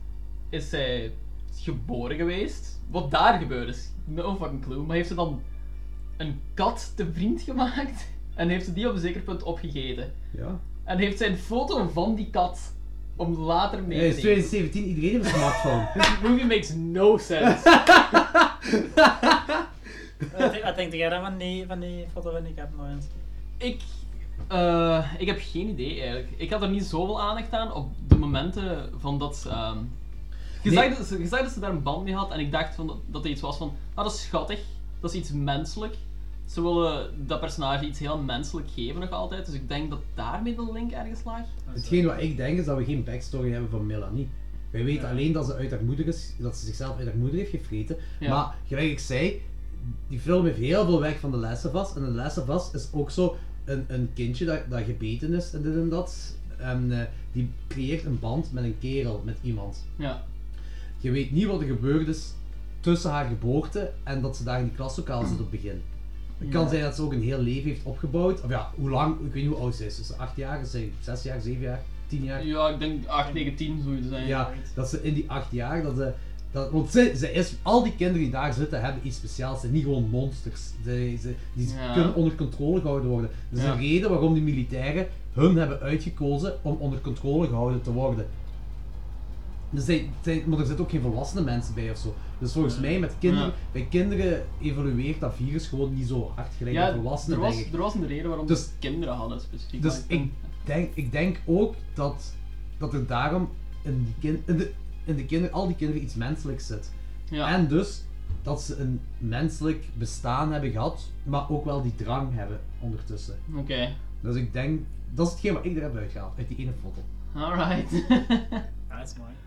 Is zij geboren geweest? Wat daar gebeurd is, no fucking clue. Maar heeft ze dan een kat te vriend gemaakt? En heeft ze die op een zeker punt opgegeten.
Ja.
En heeft zijn foto van die kat om later mee
Ja,
te
is
nemen.
2017, iedereen heeft een smartphone.
This movie makes no sense.
Wat denk jij dan van die, van die foto van die kat, Lorenz?
Ik, eh, ik heb geen idee eigenlijk. Ik had er niet zoveel aandacht aan op de momenten van dat ze. ehm, je,
Nee.
zag dat ze je zag dat ze daar een band mee had en ik dacht van, dat- dat er iets was van, ah, dat is schattig, dat is iets menselijk. Ze willen dat personage iets heel menselijk geven nog altijd, dus ik denk dat daarmee de link ergens lag.
Hetgeen wat ik denk is dat we geen backstory hebben van Melanie. Wij weten alleen dat ze uit haar moeder is, dat ze zichzelf uit haar moeder heeft gevreten.
Ja.
Maar gelijk ik zei, die film heeft heel veel weg van de Last of Us. En de Last of Us is ook zo een, een kindje dat, dat gebeten is en dit en dat. En eh, die creëert een band met een kerel, met iemand.
Ja.
Je weet niet wat er gebeurd is tussen haar geboorte en dat ze daar in die klaslokaal zit op het begin. Het kan
Ja.
zijn dat ze ook een heel leven heeft opgebouwd. Of ja, hoe lang, ik weet niet hoe oud ze is. Is ze acht jaar, is ze zes jaar, zeven jaar, tien jaar?
Ja, ik denk 8, 9, 10 zou je zijn.
Ja, dat ze in die acht jaar, dat ze... Dat, want ze, ze is, al die kinderen die daar zitten hebben iets speciaals. Ze zijn niet gewoon monsters. Ze, ze, die
Ja.
kunnen onder controle gehouden worden. Dat is
Ja.
een reden waarom die militairen hun hebben uitgekozen om onder controle gehouden te worden. Dus zij, zij- maar er zitten ook geen volwassene mensen bij of zo. Dus volgens mij met kinderen,
Ja.
bij kinderen evolueert dat virus gewoon niet zo hard gelijk bij volwassenen.
er, was,
denk ik.
er was een reden waarom
Dus-
ze kinderen hadden specifiek.
Dus ik denk, ik denk ook dat, dat er daarom in, die kin, in, de, in de kinder, al die kinderen iets menselijks zit.
Ja.
En dus dat ze een menselijk bestaan hebben gehad, maar ook wel die drang hebben ondertussen.
Oké,
Dus ik denk, dat is hetgeen wat ik eruit heb uitgehaald, uit die ene foto.
alright.
Ja, dat is mooi.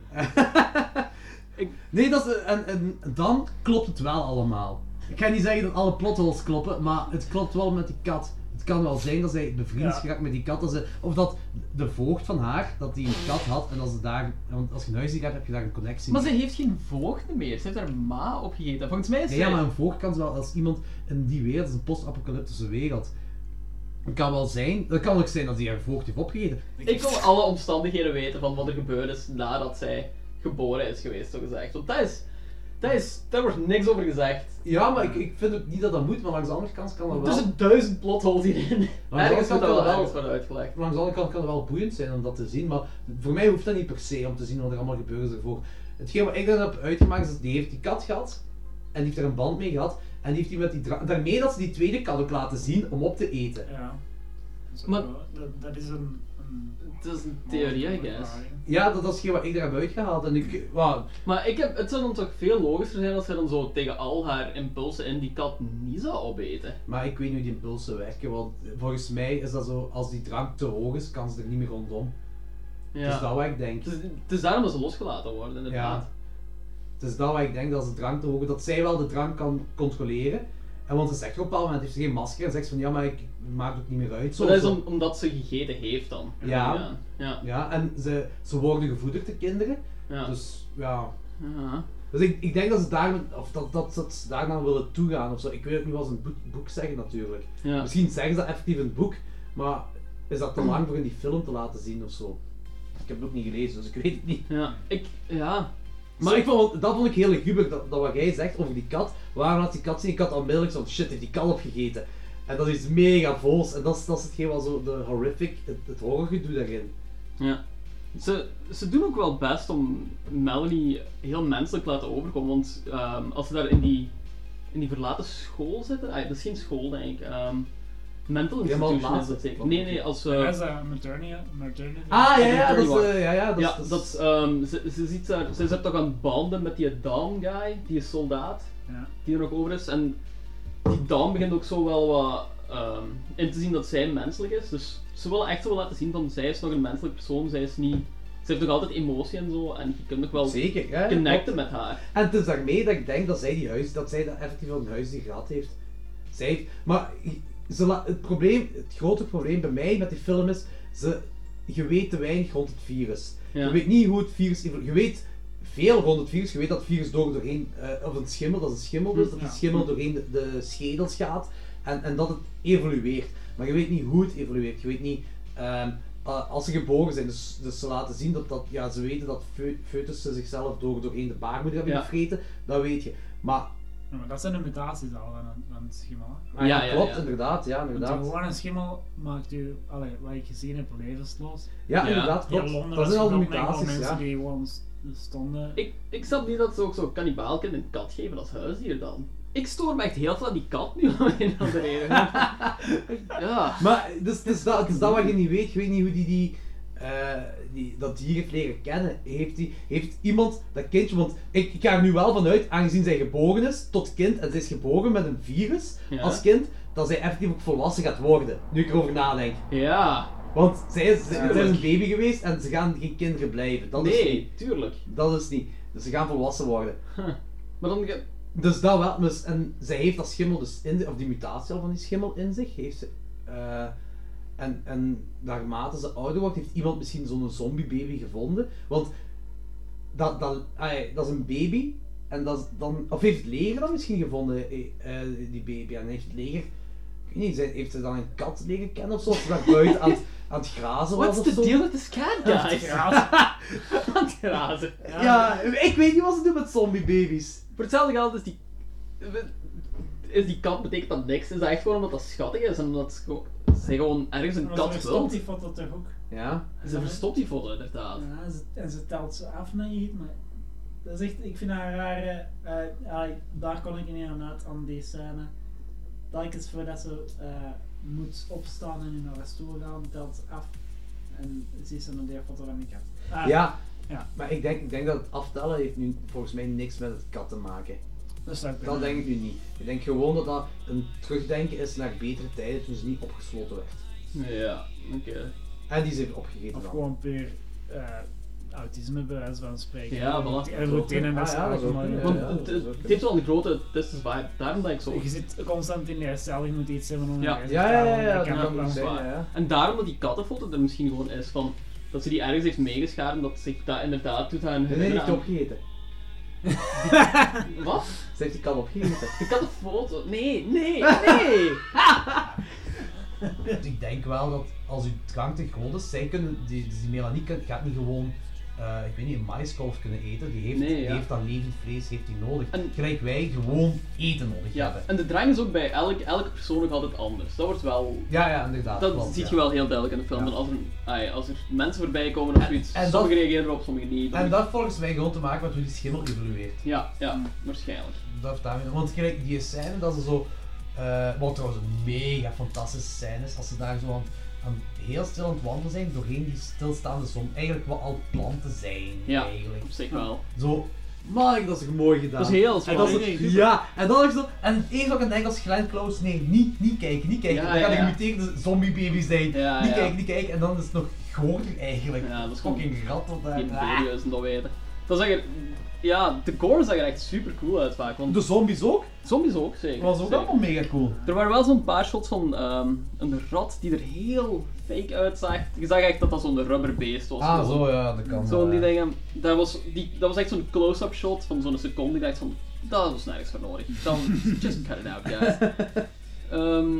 Nee, dat is, en, en dan klopt het wel allemaal. Ik ga niet zeggen dat alle plotholes kloppen, maar het klopt wel met die kat. Het kan wel zijn dat zij bevriend is
Ja.
geraakt met die kat. Dat ze, of dat de voogd van haar, dat die een kat had en dat ze daar... Want als je een huisdier hebt, heb je daar een connectie
Maar ze
mee.
heeft geen voogd meer, ze heeft haar ma opgegeten. Volgens mij is
Ja,
zij-
ja, maar een voogd kan wel als iemand in die wereld, dat is een post-apocalyptische wereld. Het kan wel zijn, dat kan ook zijn dat hij haar voogd heeft opgegeten.
Ik wil alle omstandigheden weten van wat er gebeurd is nadat zij geboren is geweest, zo gezegd. Want dat is, dat is, daar wordt niks over gezegd.
Ja, maar ik, ik vind ook niet dat dat moet, maar langs de andere kant kan dat wel...
Er zijn duizend plotholes hierin.
Langs de
Ergens
andere kant
wordt dat
kan
wel
dat wel-
ergens worden uitgelegd.
Langs de andere kant kan het wel boeiend zijn om dat te zien, maar voor mij hoeft dat niet per se om te zien wat er allemaal gebeurt ervoor. Hetgeen wat ik dan heb uitgemaakt is dat die heeft die kat gehad, en die heeft er een band mee gehad, en die heeft die met die dra- daarmee dat ze die tweede kat ook laten zien om op te eten.
Ja. Dus
Maar-
ook wel- dat, dat is een... een
Het is een
Oh,
theorie, I guess.
Ja, dat is hetgeen wat ik er heb uitgehaald, en ik, wauw.
Maar ik heb, het zou dan toch veel logischer zijn als zij dan zo tegen al haar impulsen in die kat niet zou opeten.
Maar ik weet niet hoe die impulsen werken, want volgens mij is dat zo, als die drank te hoog is, kan ze er niet meer rondom. Dus
Ja.
Dat is dat wat ik denk.
Het is, het is daarom dat ze losgelaten worden, inderdaad.
Ja. Het is dat wat ik denk, dat ze drank te hoog, dat zij wel de drank kan controleren. En want ze zegt op een bepaald moment, heeft ze geen masker en zegt ze van ja, maar ik maak het niet meer uit. Zo,
Maar dat is
zo.
om- omdat ze gegeten heeft dan.
Ja.
Ja. ja.
en ze, ze worden gevoederd, de kinderen.
Ja.
Dus ja.
Ja.
Dus ik, ik denk dat ze daar, of dat, dat, dat ze daar naar willen toegaan of zo. Ik weet ook niet wat ze in het boek, boek zeggen natuurlijk.
Ja.
Misschien zeggen ze dat effectief in het boek, maar is dat te lang voor in die film te laten zien of zo? Ik heb het ook niet gelezen, dus ik weet het niet.
Ja, ik, ja.
Maar ik vond, dat vond ik heel gubbig, dat, dat wat jij zegt over die kat. Waarom had die kat zien? Die kat onmiddellijk zo'n shit, heeft die kat opgegeten. En dat is dus mega vols. En dat is, dat is hetgeen wat zo de horrific, het, het horrorgedoe daarin.
Ja. Ze, ze doen ook wel best om Melanie heel menselijk te laten overkomen, want ehm, als ze daar in die, in die verlaten school zitten, ah, dat is geen school denk ik, ehm, mental
Ja, maar
institution is
later.
dat zeker. Nee, nee, als... eh,
Ja, dat is een maternity. maternity.
Ah, ja, ja, dat is,
Attorney
eh,
War.
ja, ja, dat is- dat is-
dat is, ehm, ze, ze ziet daar, ze zit toch aan banden met die Dam guy, die is soldaat,
Ja.
die er nog over is. En die Dam begint ook zo wel wat ehm, in te zien dat zij menselijk is. Dus ze willen echt zo wel laten zien van zij is nog een menselijk persoon, zij is niet... Ze heeft nog altijd emotie en zo, en je kunt nog wel
Zeker, ja,
connecten
klopt.
met haar.
En het is daarmee dat ik denk dat zij die huis, dat zij dat effectief wel een huis die gehad heeft. Zij heeft, maar ze la- het probleem, het grote probleem bij mij met die film is, ze, je weet te weinig rond het virus.
Ja.
Je weet niet hoe het virus, evo- je weet veel rond het virus, je weet dat het virus door, doorheen, eh, of een schimmel, dat is een schimmel dus, dat die
Ja.
schimmel doorheen de, de schedels gaat en, en dat het evolueert. Maar je weet niet hoe het evolueert, je weet niet... ehm, eh, als ze geboren zijn, dus, dus ze laten zien dat, dat ja, ze weten dat feu- foetussen zichzelf door, doorheen de baarmoeder hebben
Ja.
gevreten, dat weet je. Maar
Ja, maar dat zijn de mutaties al van een, van een schimmel.
Ah, ja, Ja, ja, klopt, ja. inderdaad, ja, inderdaad.
Want gewoon een schimmel maakt u, allee, wat ik gezien heb, levensloos.
Ja, Ja. inderdaad, klopt.
In Londen
Dat zijn
was
al de
er ook nog
mutaties,
wel mensen
ja.
die gewoon s- stonden.
Ik, ik snap niet dat ze ook zo'n kannibaal kunnen een kat geven als huisdier dan. Ik stoor me echt heel veel aan die kat nu, om een of andere reden. ja.
Maar dus, het is dat, het is dat wat je niet weet. Je weet niet hoe die, die, eh, die dat dier heeft leren kennen. Heeft, die, heeft iemand dat kindje, want ik, ik ga er nu wel vanuit, aangezien zij geboren is tot kind en zij is geboren met een virus
Ja.
als kind, dat zij effectief ook volwassen gaat worden. Nu ik erover nadenk.
Ja.
Want zij is, zij
Tuurlijk.
is een baby geweest en ze gaan geen kinderen blijven. Dat is
Nee,
niet.
tuurlijk.
Dat is niet. Dus ze gaan volwassen worden.
Maar dan... ge-
Dus dat wel. Dus, en zij heeft dat schimmel dus in zich, of die mutatie al van die schimmel in zich, heeft ze. eh, en, en naarmate ze ouder wordt, heeft iemand misschien zo'n zombiebaby gevonden. Want dat, dat, ai, dat is een baby. En dat is dan, of heeft het leger dat misschien gevonden, eh, eh, die baby? En heeft het leger, ik weet niet, zij- heeft ze dan een kat leren kennen of zo? Of ze daar buiten aan, het- aan het grazen was
What's
of
the
zo?
deal with this cat,
Aan het
guys?
grazen.
Aan het razen.
Ja, ik weet niet wat ze doen met zombiebabies.
Voor hetzelfde geld is die... Is die kat betekent dat niks. Is dat echt gewoon omdat dat schattig is en omdat ze gewoon- ze gewoon ergens een
Maar zo
kat wil.
stond die foto toch ook?
Ja.
Ze verstopt die foto inderdaad.
Ja, ze- en ze telt ze af naar iets, maar dat is echt, ik vind haar rare, eh, ja, ik- daar kon ik niet aan uit aan die scène. Telkens voordat ze eh, moet opstaan en in haar stoel gaan, telt ze af en ziet ze een deel foto van die kat. Ah,
ja.
ja.
Maar ik denk, ik denk dat het aftellen heeft nu volgens mij niks met het kat te maken.
Dat, zou kunnen.
dat denk ik nu niet. Ik denk gewoon dat dat een terugdenken is naar betere tijden toen ze niet opgesloten werd.
Ja, oké.
En die ze heeft opgegeten
Of
dan.
gewoon puur eh, autisme bij wijze van spreken.
Ja, voilà.
En routine en dat
Ah,
soort dingen, maar, eh,
Want het- het- Het heeft wel een grote This is vibe, daarom dat ik zo...
Je zit constant in je cel, je moet iets hebben om
Ja,
ergens te halen, dat kan ook wel.
is waar. En daarom dat die kattenfoto er misschien gewoon is van dat ze die ergens heeft meegeschaard en dat zich dat inderdaad doet aan
Nee, nee, die heeft opgegeten.
Wat?
Ze heeft die kat opgegeten.
De kattenfoto? Nee, nee, nee!
Dus ik denk wel dat als uw drank te groot is, zij kunnen, die, dus die Melanie kan- gaat niet gewoon, eh, ik weet niet, een maiskolf kunnen eten. Die heeft,
Nee, ja.
die heeft dat levend vlees heeft die nodig. Gelijk wij gewoon eten nodig
Ja,
hebben.
en de drang is ook bij elk, elke persoon ook altijd anders. Dat wordt wel...
Ja, ja, inderdaad.
Dat
klopt,
ziet
ja.
je wel heel duidelijk in de film.
Ja.
dat Als, er, ai, als er mensen voorbij komen of zoiets,
en dat-
sommigen reageren erop, sommigen niet.
En dat Hmm. volgens mij gewoon te maken met hoe die schimmel evolueert.
Ja, ja, waarschijnlijk.
Dat heeft daarmee- want gelijk die scène dat ze zo, eh, wat trouwens een mega fantastische scène is, als ze daar zo aan, aan- heel stil aan het wandelen zijn doorheen die stilstaande zon. Eigenlijk wat al planten zijn,
Ja,
eigenlijk.
op zich wel.
Zo, maar dat is toch mooi gedaan.
Dat is heel
En dat is-
zwaar. Nee, nee,
ja, en dan is dat, en het enige wat ik aan denk als Glenn Close, nee, niet, niet kijken, niet kijken.
Ja,
dan
ja,
gaat
ja.
een gemuteerde zombiebaby zijn. niet
ja.
kijken, niet kijken. En dan is het nog goorder eigenlijk.
Ja, dat is gewoon
fucking rat tot daar.
geen
Ah.
video's en dat weten. Dat zag er... Ja, de gore zag er echt super cool uit vaak. Want
De zombies ook?
Zombies ook, zeker.
Dat Dus- was ook
zeker.
allemaal mega cool.
Er waren wel zo'n paar shots van ehm, een rat die er heel fake uitzag. Je zag echt dat dat zo'n rubberbeest was.
Ah,
Gewoon.
zo, ja, dat kan wel,
Zo'n die
ja.
dingen. Dat was, die, dat was echt zo'n close-up shot van zo'n seconde. Ik dacht van, dat was nergens voor nodig. Dan, just cut it out, guys. Ehm,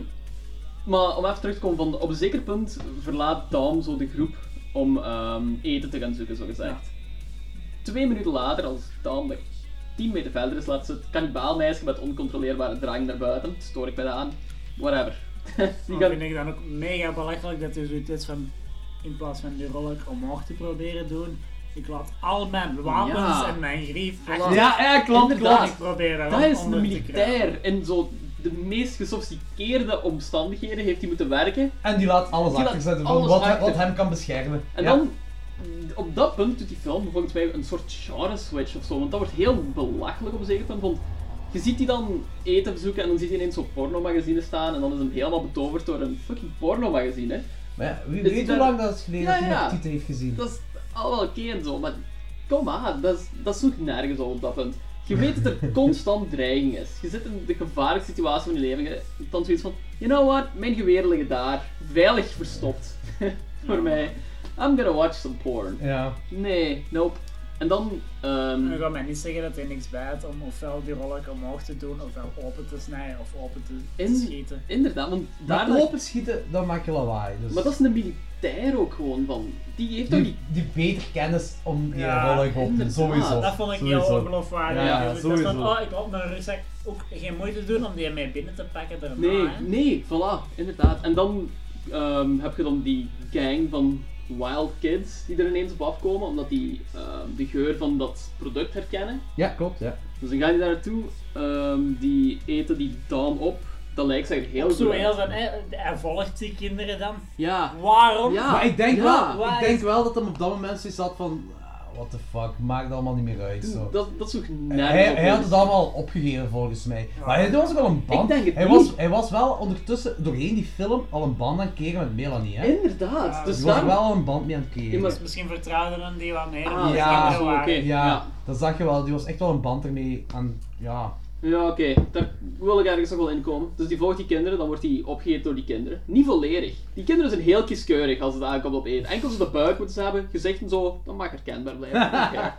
maar om even terug te komen, van, op een zeker punt verlaat Dam zo de groep om ehm, eten te gaan zoeken, zogezegd. Twee minuten later, als Dam like, 10 meter verder is, laat ze het kannibaalmeisje met oncontroleerbare drang naar buiten. Stoor ik mij dat aan? Whatever.
Die
gaan-
Oh, vind ik dan ook mega belachelijk dat er zoiets is van in plaats van die roller omhoog te proberen doen. Ik laat al mijn wapens
Ja.
en mijn grief.
Voilà. Inderdaad.
Ik probeer daar
Dat
om-
is
onder
een
te kruipen.
militair. In zo de meest gesofisticeerde omstandigheden heeft hij moeten werken.
En die laat alles
Die laat
achter zetten van
alles
wat,
achter.
wat hem kan beschermen.
En
Ja.
dan, op dat punt doet die film volgens mij een soort genre switch of zo. Want dat wordt heel belachelijk op een zeker punt. Want je ziet die dan eten zoeken en dan ziet hij ineens zo'n pornomagazine staan. En dan is hem helemaal betoverd door een fucking pornomagazine.
Maar ja, wie
Is
weet
daar-
hoe lang dat is geleden
Ja,
dat hij
ja.
nog Tite heeft gezien.
Dat is al wel oké en zo, maar kom aan, dat, is, dat sloeg nergens op op dat punt. Je weet dat er constant dreiging is. Je zit in de gevaarlijke situatie van je leven. Je hebt Dan zoiets van, you know what, mijn geweren liggen daar, veilig verstopt. Voor mij. I'm gonna watch some porn.
Ja.
Nee, nope. En dan, ehm,
Je gaat mij niet zeggen dat er niks bij had om ofwel die roller omhoog te doen, ofwel open te snijden of open te
in-
schieten.
inderdaad, want daar
Maar open schieten, dan maak je lawaai. Dus.
Maar dat is een militair daar ook gewoon van. Die heeft toch
Die, die beter kennis om die
Ja,
rol op te doen,
inderdaad.
sowieso.
Dat vond ik
sowieso.
heel ongeloofwaardig.
Ja, ja,
eigenlijk. dat is
sowieso.
van, oh, ik had mijn rugzak ook geen moeite doen om die mee binnen te pakken daarna.
Nee,
hè.
nee, voilà, inderdaad. En dan ehm, heb je dan die gang van wild kids die er ineens op afkomen, omdat die ehm, de geur van dat product herkennen.
Ja, klopt, ja.
Dus dan gaan die daar naartoe, ehm, die eten die Dawn op. Dat lijkt ze heel
Ook zo
goed.
heel van, hè, hij volgt die kinderen dan.
Ja.
Waarom?
Ah,
maar ik denk,
Ja,
wel,
waar
ik denk
is-
wel dat hem op dat moment zoiets had van... ah, What the fuck, maakt het allemaal niet meer uit. Zo.
Dat, dat is ook nergens
Hij,
op
hij had
los.
het allemaal opgegeven volgens mij. Maar hij was ook al een band.
Ik denk het
hij,
niet.
Was, hij was wel ondertussen doorheen die film al een band aan het keren met Melanie. Hè? Die
Inderdaad, dus
was
daarom-
wel een band mee aan het keren.
Dus misschien vertrouwden dan die wat meer.
Ah,
die
ja,
kinderen
zo,
waren.
oké.
Ja,
Ja.
dat zag je wel. Die was echt wel een band ermee aan... Ja.
Ja, oké, daar wil ik ergens nog wel in komen. Dus die volgt die kinderen, dan wordt die opgegeten door die kinderen. Niet volledig. Die kinderen zijn heel kieskeurig als het aankomt op eten. Enkel ze de buik moeten ze hebben, gezicht en zo, dan mag herkenbaar blijven. Oké.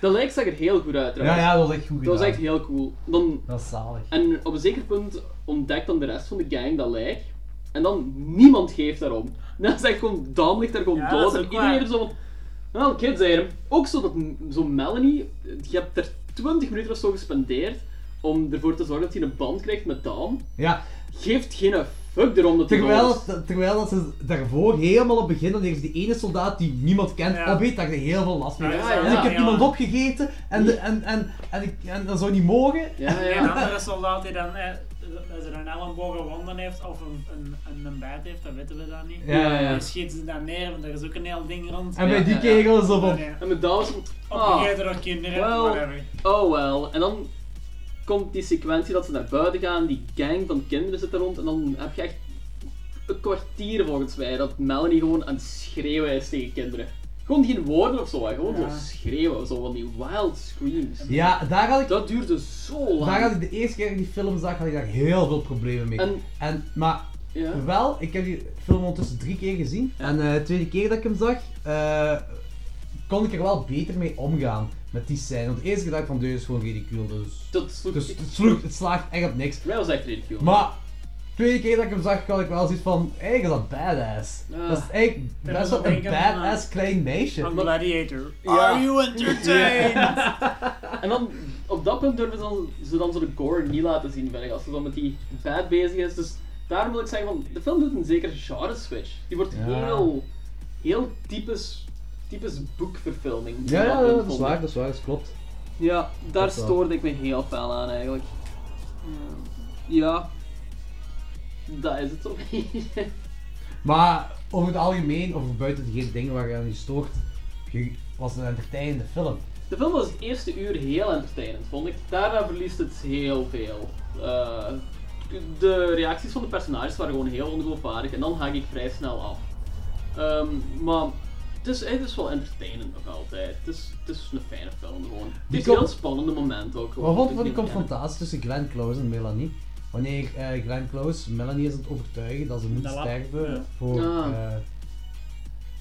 De lijk zag er heel goed uit trouwens.
Ja, ja, dat was echt goed
Dat was
gedaan.
echt heel cool. Dan,
Dat is zalig.
en op een zeker punt ontdekt dan de rest van de gang dat lijk. En dan niemand geeft daarom. Dat is echt gewoon, Dam ligt daar gewoon
Ja, dat
dood.
is
En
ook
iedereen
waar.
er zo van, wel, kids zijn hem. Ook zo dat zo Melanie, je hebt er 20 minuten of zo gespendeerd om ervoor te zorgen dat hij een band krijgt met Daan.
Ja.
Geeft geen fuck erom dat hij
Terwijl,
dood is.
dat- terwijl dat ze daarvoor helemaal op het begin, dan heeft die ene soldaat die niemand kent,
Ja.
opeet dat je heel veel last mee
Ja,
hebt.
ja,
en ik
ja.
heb
Ja.
iemand opgegeten en, de, en, en, en, ik, en dat zou niet mogen.
En een andere soldaat die dan eh, dat ze een elleboog gewonden heeft of een, een, een, een bijt heeft, dat weten we dan niet.
Ja, ja, ja.
Dan schieten ze dan neer, want er is ook een heel ding rond.
En bij die Ah. kerel is op op.
Nee.
En met Daan is het... "Ah."
Opgegeten door kinderen, whatever.
oh well. En dan komt die sequentie dat ze naar buiten gaan, die gang van kinderen zit er rond en dan heb je echt een kwartier volgens mij dat Melanie gewoon aan het schreeuwen is tegen kinderen. Gewoon geen woorden of zo, hè. gewoon
Ja.
zo schreeuwen, zo van die wild screams.
Ja, daar had ik...
Dat duurde zo lang.
Daar had ik de eerste keer dat ik die film zag, had ik daar heel veel problemen mee.
En-
En, maar
Ja.
wel, ik heb die film ondertussen drie keer gezien. En eh, de tweede keer dat ik hem zag, eh, kon ik er wel beter mee omgaan. Met die scène. Want de eerste keer dacht ik van, dit is gewoon ridicuul. Dus,
dat sloeg,
dus het, sloeg, het slaagt echt op niks.
Mij was echt ridicuul.
Maar, de tweede keer dat ik hem zag, had ik wel zoiets van, eigenlijk is dat badass.
Ja.
Dat is eigenlijk
Dat
best
moet
wel een
denken van, eh,
badass klein meisje.
Van Gladiator.
Ja.
Are you entertained?
En dan, op dat punt durven ze dan, ze dan zo de gore niet laten zien, vind ik, als ze dan met die vet bezig is. Dus daarom wil ik zeggen, van, de film doet een zekere genre switch. Die wordt
Ja.
heel, heel typisch, typisch boekverfilming.
Ja, ja,
punt
dat is
vond
waar,
ik.
dat is waar, dat klopt.
Ja, daar
Dat wel.
stoorde ik me heel fel aan eigenlijk. Ja, dat is het toch
Maar over het algemeen, of buiten degene dingen waar je aan je stoort, je- was het een entertainende film.
De film was het eerste uur heel entertainend, vond ik. Daarna verliest het heel veel. Eh, de reacties van de personages waren gewoon heel ongeloofwaardig en dan haak ik vrij snel af. Ehm, maar het is, het is wel entertainend nog altijd. Het is, het is een fijne film gewoon. Het
Die
is
kom-
heel spannende moment ook. gewoon.
Wat vond je
Ik
van die
denk, ja.
confrontatie tussen Glenn Close en Melanie? Wanneer eh Glenn Close Melanie is aan het overtuigen dat ze moet
Dat lap,
sterven
ja.
voor...
Ja.
eh,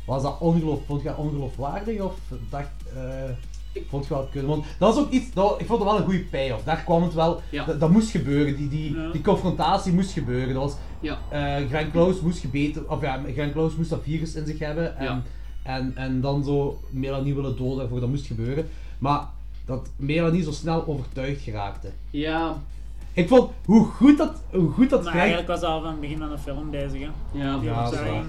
was dat ongeloof, vond je dat ongeloofwaardig of dacht... eh, vond je wel kunnen? Want dat was ook iets, dat, ik vond het wel een goede payoff. Daar kwam het wel, dat, dat moest gebeuren, die, die, die confrontatie moest gebeuren. Dat was,
Ja.
eh, Glenn Close moest gebeten, of ja, Glenn Close moest dat virus in zich hebben en, en, en dan zo Melanie willen doden daarvoor, dat moest gebeuren. Maar dat Melanie zo snel overtuigd geraakte.
Ja.
Ik vond hoe goed dat, hoe goed dat
Maar
Glenn-
eigenlijk was hij al van het begin van de film bezig, hè.
Ja,
Die
Ja, dat is
opzij.
waar.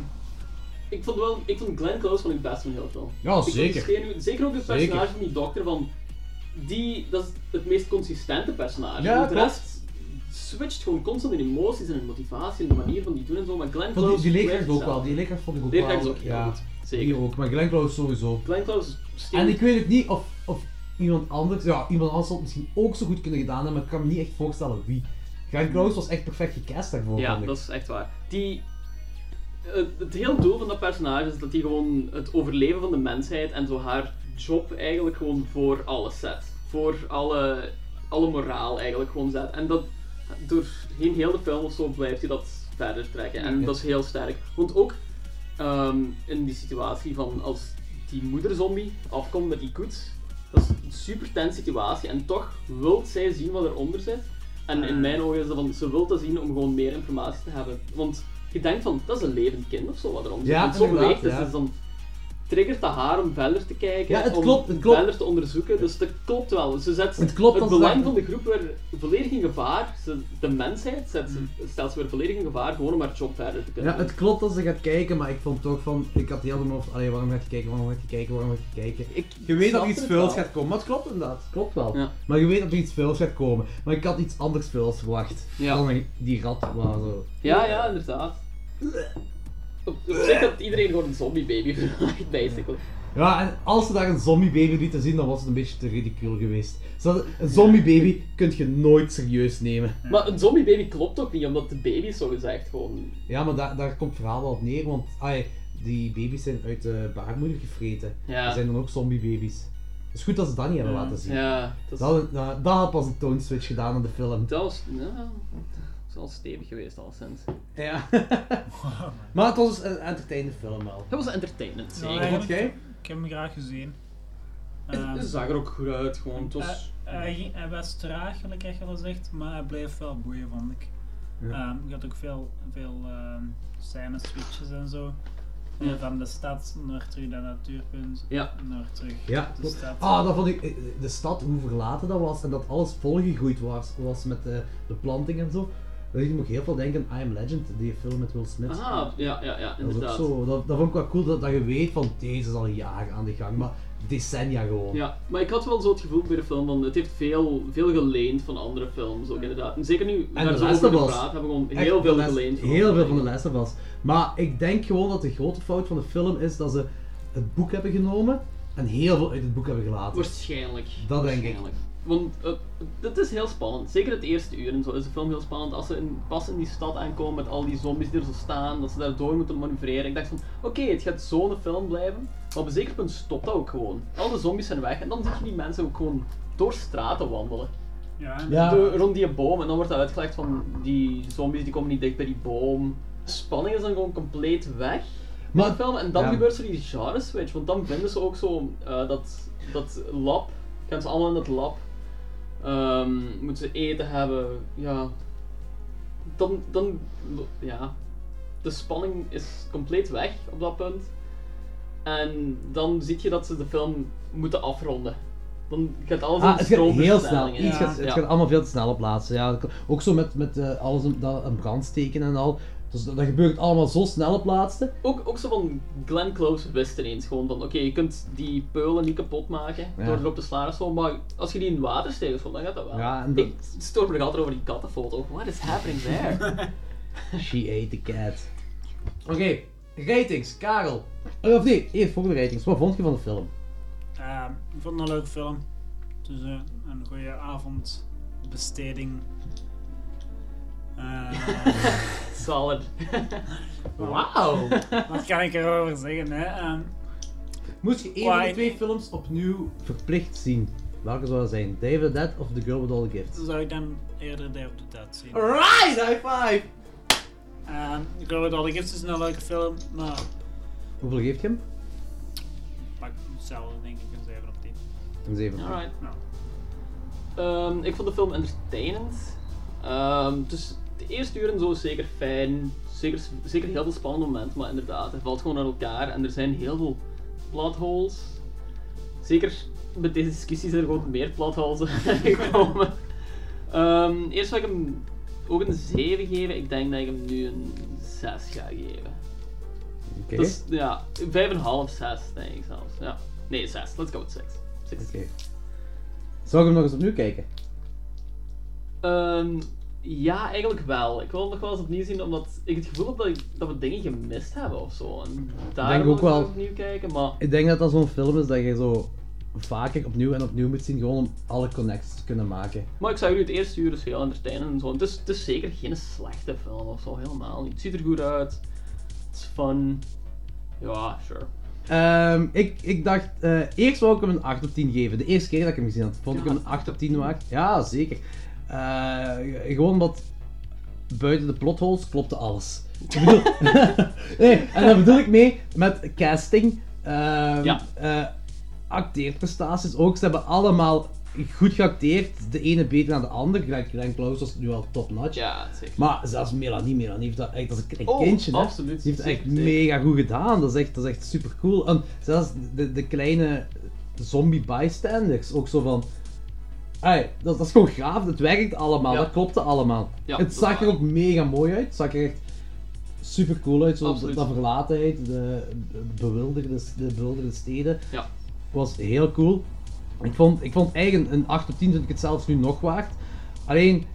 Ik vond, wel, ik vond Glenn Close vond ik best een heel film.
Ja,
Ik vond
zeker.
die schreeuw- zeker ook het
Zeker.
personage van die dokter, van, die, dat is het meest consistente personage.
Ja,
Want de
klopt.
rest switcht gewoon constant in emoties en in motivatie en de manier van die doen en zo, maar Glenn
Ik vond
Close...
die, die
blijft
leerkracht ook
hetzelfde.
wel, die leerkracht vond ik ook
Leerkracht
wel.
is ook heel
ja,
goed,
Die ook, maar Glenn Close sowieso.
Glenn Close steekt-
En ik weet het niet of, of iemand anders, ja, iemand anders had het misschien ook zo goed kunnen gedaan hebben, maar ik kan me niet echt voorstellen wie. Glenn Close was echt perfect gecast daarvoor,
Ja,
vond ik.
dat is echt waar. Die, het, het heel doel van dat personage is dat hij gewoon het overleven van de mensheid en zo haar job eigenlijk gewoon voor alles zet. Voor alle, alle moraal eigenlijk gewoon zet. En dat doorheen heel de film of zo blijft hij dat verder trekken. En
Ja.
dat is heel sterk. Want ook ehm, in die situatie van als die moederzombie afkomt met die koets, dat is een super tense situatie. En toch wil zij
Ah.
zien wat eronder zit. En in mijn ogen is dat van, ze wil dat zien om gewoon meer informatie te hebben. Want je denkt van, dat is een levend kind of zo wat erom zit.
Ja,
Want zo
inderdaad,
beweegt het,
ja.
dus dan triggert dat haar om verder te kijken,
Ja, het
om
klopt, het klopt.
verder te onderzoeken. Dus dat klopt wel. Ze zet
Het klopt dat ze
belang
daar-
van de groep weer volledig in gevaar. Ze- de mensheid zet, ze- stelt ze weer volledig in gevaar, gewoon om haar job verder te kunnen
Ja, het klopt dat ze gaat kijken, maar ik vond toch van, ik had heel de hoofd, allee, waarom gaat je kijken, waarom gaat je kijken, waarom gaat je kijken. je weet dat
snap
er iets
het
vuils
wel.
gaat komen, maar het klopt inderdaad, het klopt wel.
Ja.
Maar je weet dat er iets vuils gaat komen, maar ik had iets anders vuils verwacht.
Ja.
Dan een- die rat, waar zo.
Ja, ja, inderdaad. Op, op zich had iedereen gewoon een zombiebaby gemaakt, basically.
Ja, en als ze daar een zombiebaby lieten zien, dan was het een beetje te ridicuul geweest. Ze hadden- een zombiebaby kun je nooit serieus nemen.
Maar een zombiebaby klopt ook niet, omdat de baby zo gezegd gewoon...
Ja, maar daar, daar komt het verhaal wel op neer, want ai, die baby's zijn uit de baarmoeder gevreten.
Ja. Mm.
Er zijn dan ook zombiebabies. Het is goed dat ze dat niet hebben
Ja.
laten zien.
Ja,
dat,
dat is-
dat, dat had pas een toonswitch gedaan in de film.
Dat was... Nou, dat is al stevig geweest, al sinds.
Ja. maar het was een entertainende film wel.
Dat was entertainment,
Nou,
zeker.
eigenlijk, Ik heb hem graag gezien. Ehm,
Het zag er ook goed uit, gewoon. Het
Dus-
was...
eh, hij, ging- hij was traag, gelijk echt wel zegt, maar hij bleef wel boeien, vond ik.
Ja.
Ehm, je had ook veel, veel ehm scène switches en zo.
Ja.
Eh, Van de stad naar terug naar het natuurpunt,
Ja.
naar terug
Ja,
de
klopt.
stad.
Ah, dat vond ik, eh, de stad, hoe verlaten dat was en dat alles volgegroeid was, was met de, de planting en zo. Dat deed me ook heel veel denken aan I Am Legend, die film met Will Smith.
Ah, ja, ja, ja,
dat is ook
inderdaad.
zo. Dat, dat vond ik wel cool, dat, dat je weet van deze is al jaren aan de gang, maar decennia gewoon.
Ja, maar ik had wel zo het gevoel bij de film, van het heeft veel, veel geleend van andere films ook inderdaad. En zeker nu,
En
waar
de
we
Last of
over
Us.
gepraat hebben, we gewoon
Echt,
heel
de
veel
Last-
geleend van
Heel veel van de Last of Us. Maar ik denk gewoon dat de grote fout van de film is dat ze het boek hebben genomen en heel veel uit het boek hebben gelaten.
Waarschijnlijk.
Dat denk ik.
Waarschijnlijk. Want eh, dit is heel spannend. Zeker het eerste uur en zo is de film heel spannend. Als ze in, pas in die stad aankomen met al die zombies die er zo staan, dat ze daar door moeten manoeuvreren. Ik dacht van, oké, het gaat zo'n film blijven. Maar op een zeker punt stopt dat ook gewoon. Al de zombies zijn weg en dan zie je die mensen ook gewoon door straten wandelen.
Ja,
Ja.
Door- rond die boom en dan wordt dat uitgelegd van die zombies die komen niet dicht bij die boom. De spanning is dan gewoon compleet weg. in
Maar-
de film. En dan
ja.
gebeurt er die genre switch, want dan vinden ze ook zo eh, dat, dat lab. Gaan ze allemaal in dat lab. Ehm, moeten ze eten hebben, ja. Dan, dan, ja. De spanning is compleet weg op dat punt. En dan zie je dat ze de film moeten afronden. Dan gaat alles
Ah,
in
het gaat heel snel.
stroomversnellingen.
Iets gaat, het
Ja.
gaat allemaal veel te snel op laatste. Ja. Ook zo met, met eh, alles een, dat, een brandsteken en al. Dus dat, dat gebeurt allemaal zo snel op laatste.
Ook, ook zo van Glenn Close wist ineens gewoon van, oké, je kunt die peulen niet kapot maken
Ja.
door erop te slaan of zo, maar als je die in water steekt, dan gaat dat wel.
Ja, en
Ik stoor me nog altijd over die kattenfoto. What is happening there?
She ate the cat. Oké, ratings, Karel. Eh, Of nee, eerst volgende ratings. Wat vond je van de film?
Ehm, ik vond het een leuke film. Het is een, een goede avondbesteding. Eh,
Solid.
Wauw.
Wat kan ik erover zeggen? Hè? Ehm,
Moest je één van de twee films opnieuw verplicht zien? Welke zou dat zijn? David the Dead of The Girl with All the Gifts?
zou ik dan eerder Day of the Dead zien.
Alright, high five!
Ehm, ik wil het al, het is een leuke film, maar
Hoeveel geef je hem?
pak hetzelfde denk ik een 7 op 10.
Een 7.
Alright.
Nou,
Ehm, ik vond de film entertainend. Ehm, dus de eerste uur en zo is zeker fijn. Zeker, zeker heel veel spannende momenten, maar inderdaad, het valt gewoon aan elkaar en er zijn heel veel plot holes. Zeker met deze discussies zijn er gewoon meer plot holes gekomen. Ehm, eerst wil ik hem ook een 7 geven. Ik denk dat ik hem nu een 6 ga geven.
Oké.
Dat is- ja, 5,5, 6 denk ik zelfs. Ja. Nee, 6. Let's go with 6.
Oké. Zou ik hem nog eens opnieuw kijken?
Ehm, ja, eigenlijk wel. Ik wil hem nog wel eens opnieuw zien, omdat ik het gevoel heb dat, ik- dat we dingen gemist hebben of zo. En daarom
denk
wil
ook
ik
wel.
nog opnieuw kijken, maar
Ik denk dat dat zo'n film is dat je zo vaker opnieuw en opnieuw moet zien, gewoon om alle connecties te kunnen maken.
Maar ik zag jullie het eerste uur is heel entertainend en zo. Het is, het is zeker geen slechte film of zo, helemaal niet. Het ziet er goed uit. Het is fun. Ja, sure.
Ehm, ik, ik dacht, eh, eerst wou ik hem een 8 op 10 geven. De eerste keer dat ik hem gezien had, vond ik
Ja.
hem een 8 op 10 waard. Ja, zeker. Eh, gewoon omdat buiten de plotholes klopte alles. Ik bedoel, nee, en daar bedoel ik mee met casting. Ehm,
Ja.
eh, acteerprestaties ook. Ze hebben allemaal goed geacteerd. De ene beter dan de ander. Glenn, Glenn Close was nu al top-notch.
Ja, zeker.
Maar zelfs Melanie, Melanie heeft dat echt als een klein
Oh,
kindje. hè.
absoluut.
Die heeft het echt
Zeker, zeker.
mega goed gedaan. Dat is echt, dat is echt super cool. En zelfs de, de kleine zombie bystanders. Ook zo van. Hey, dat, dat is gewoon gaaf, het werkt allemaal, dat klopte allemaal.
Ja,
het
dat
zag er ook mega mooi uit, het zag er echt super cool uit. Zo,
Absoluut.
dat verlatenheid, de bewilderde, de bewilderde steden.
Ja.
Was heel cool. Ik vond, ik vond eigenlijk een 8 op 10, vind ik het zelfs nu nog waard. Alleen,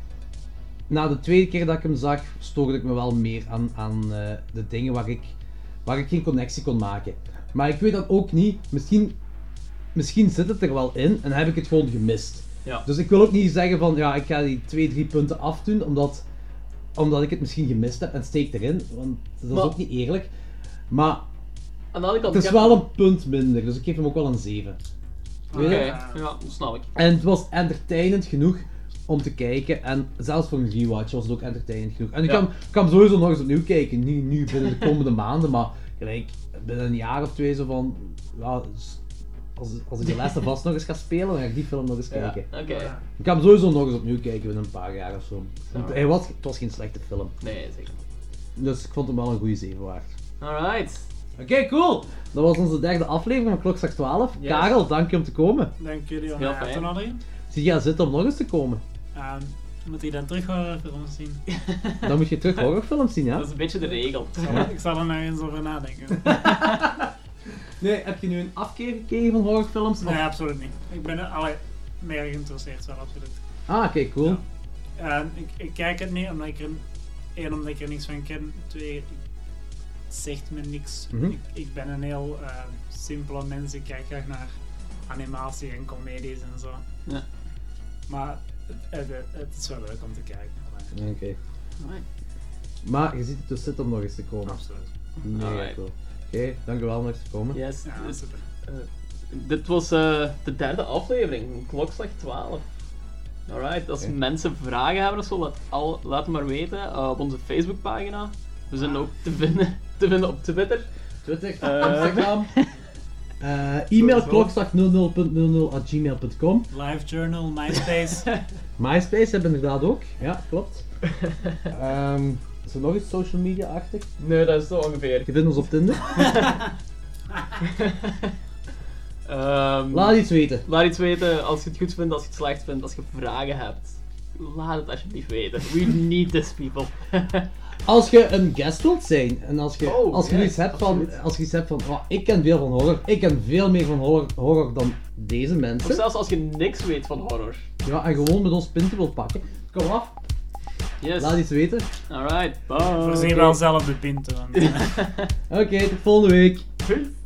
na de tweede keer dat ik hem zag, stoorde ik me wel meer aan, aan eh, de dingen waar ik, waar ik geen connectie kon maken. Maar ik weet dat ook niet, misschien, misschien zit het er wel in en heb ik het gewoon gemist.
Ja.
Dus ik wil ook niet zeggen van ja, ik ga die 2, 3 punten afdoen omdat, omdat ik het misschien gemist heb en steek erin. Want dat is
Maar-
ook niet eerlijk. Maar
Aan de andere kant,
het is
ik heb-
wel een punt minder, dus ik geef hem ook wel een 7.
Oké, ja, dat snap ik.
En het was entertainend genoeg om te kijken. En zelfs voor een rewatch was het ook entertainend genoeg. En ik
Ja.
kan, ik kan hem sowieso nog eens opnieuw kijken. Niet nu binnen de komende maanden, maar gelijk binnen een jaar of twee zo van. Ja, s- als, als ik de laatste vast nog eens ga spelen, dan ga ik die film nog eens
Ja,
kijken.
oké.
Ik kan hem sowieso nog eens opnieuw kijken binnen een paar jaar of zo.
Ja.
Hij was, het was geen slechte film.
Nee, zeker.
Dus ik vond hem wel een goede 7 waard.
Alright.
Oké, cool! Dat was onze derde aflevering van Klokzak 12.
Yes.
Karel, dank je om te komen.
Dank jullie wel.
Heel
Ja,
fijn.
Toen al erin.
Zie jij zitten om nog eens te komen?
Ehm, moet ik dan terug horen voor ons zien?
Dan moet je terug horrorfilms zien, ja?
Dat is een beetje de regel.
Ik zal er nog eens over nadenken.
Nee, heb je nu een afkeer gekregen van horrorfilms?
Nee, absoluut niet. Ik ben er alle meer geïnteresseerd, wel absoluut.
Ah, oké, cool.
En ik, ik kijk het niet omdat ik er, één, omdat ik er niks van ken, twee, ik- het zegt me niks.
Mhm.
ik, ik ben een heel eh, simpele mens, ik kijk graag naar animatie en comedies en zo.
Ja.
Maar het, het, het is wel leuk om te kijken.
Oké. Maar je ziet het dus zitten om nog eens te komen.
Absoluut.
Nee,
Alright.
cool. Oké, dankjewel om nog eens te komen.
Yes.
Ja,
dus,
super.
eh, dit was eh, de derde aflevering, van klokslag 12. Alright, als
Oké.
mensen vragen hebben of zo, laat, al, laat maar weten eh, op onze Facebookpagina. We zijn ook te vinden, te vinden op Twitter.
Twitter,
Eh,
Instagram. Eh, e-mail
Sowieso.
klokslag00.00 at gmail.com.
Live Journal, MySpace.
MySpace hebben we inderdaad ook. Ja, klopt. Ehm, is er nog iets social media-achtig?
Nee, dat is zo ongeveer.
Je vindt ons op Tinder.
Ehm,
Laat iets weten.
Laat iets weten als je het goed vindt, als je het slecht vindt, als je vragen hebt. Laat het alsjeblieft weten. We need this people.
Als je een guest wilt zijn en als je,
Oh,
als je
ja,
iets hebt van, als je iets hebt van oh, ik ken veel van horror, ik ken veel meer van horror, horror dan deze
of
mensen.
zelfs als je niks weet van horror.
Ja, en gewoon met ons punten wilt pakken. Kom af,
Yes.
laat iets weten.
Alright, bye.
Voorzien wel zelf de pinten. want, eh.
Oké, tot volgende week.
Peace.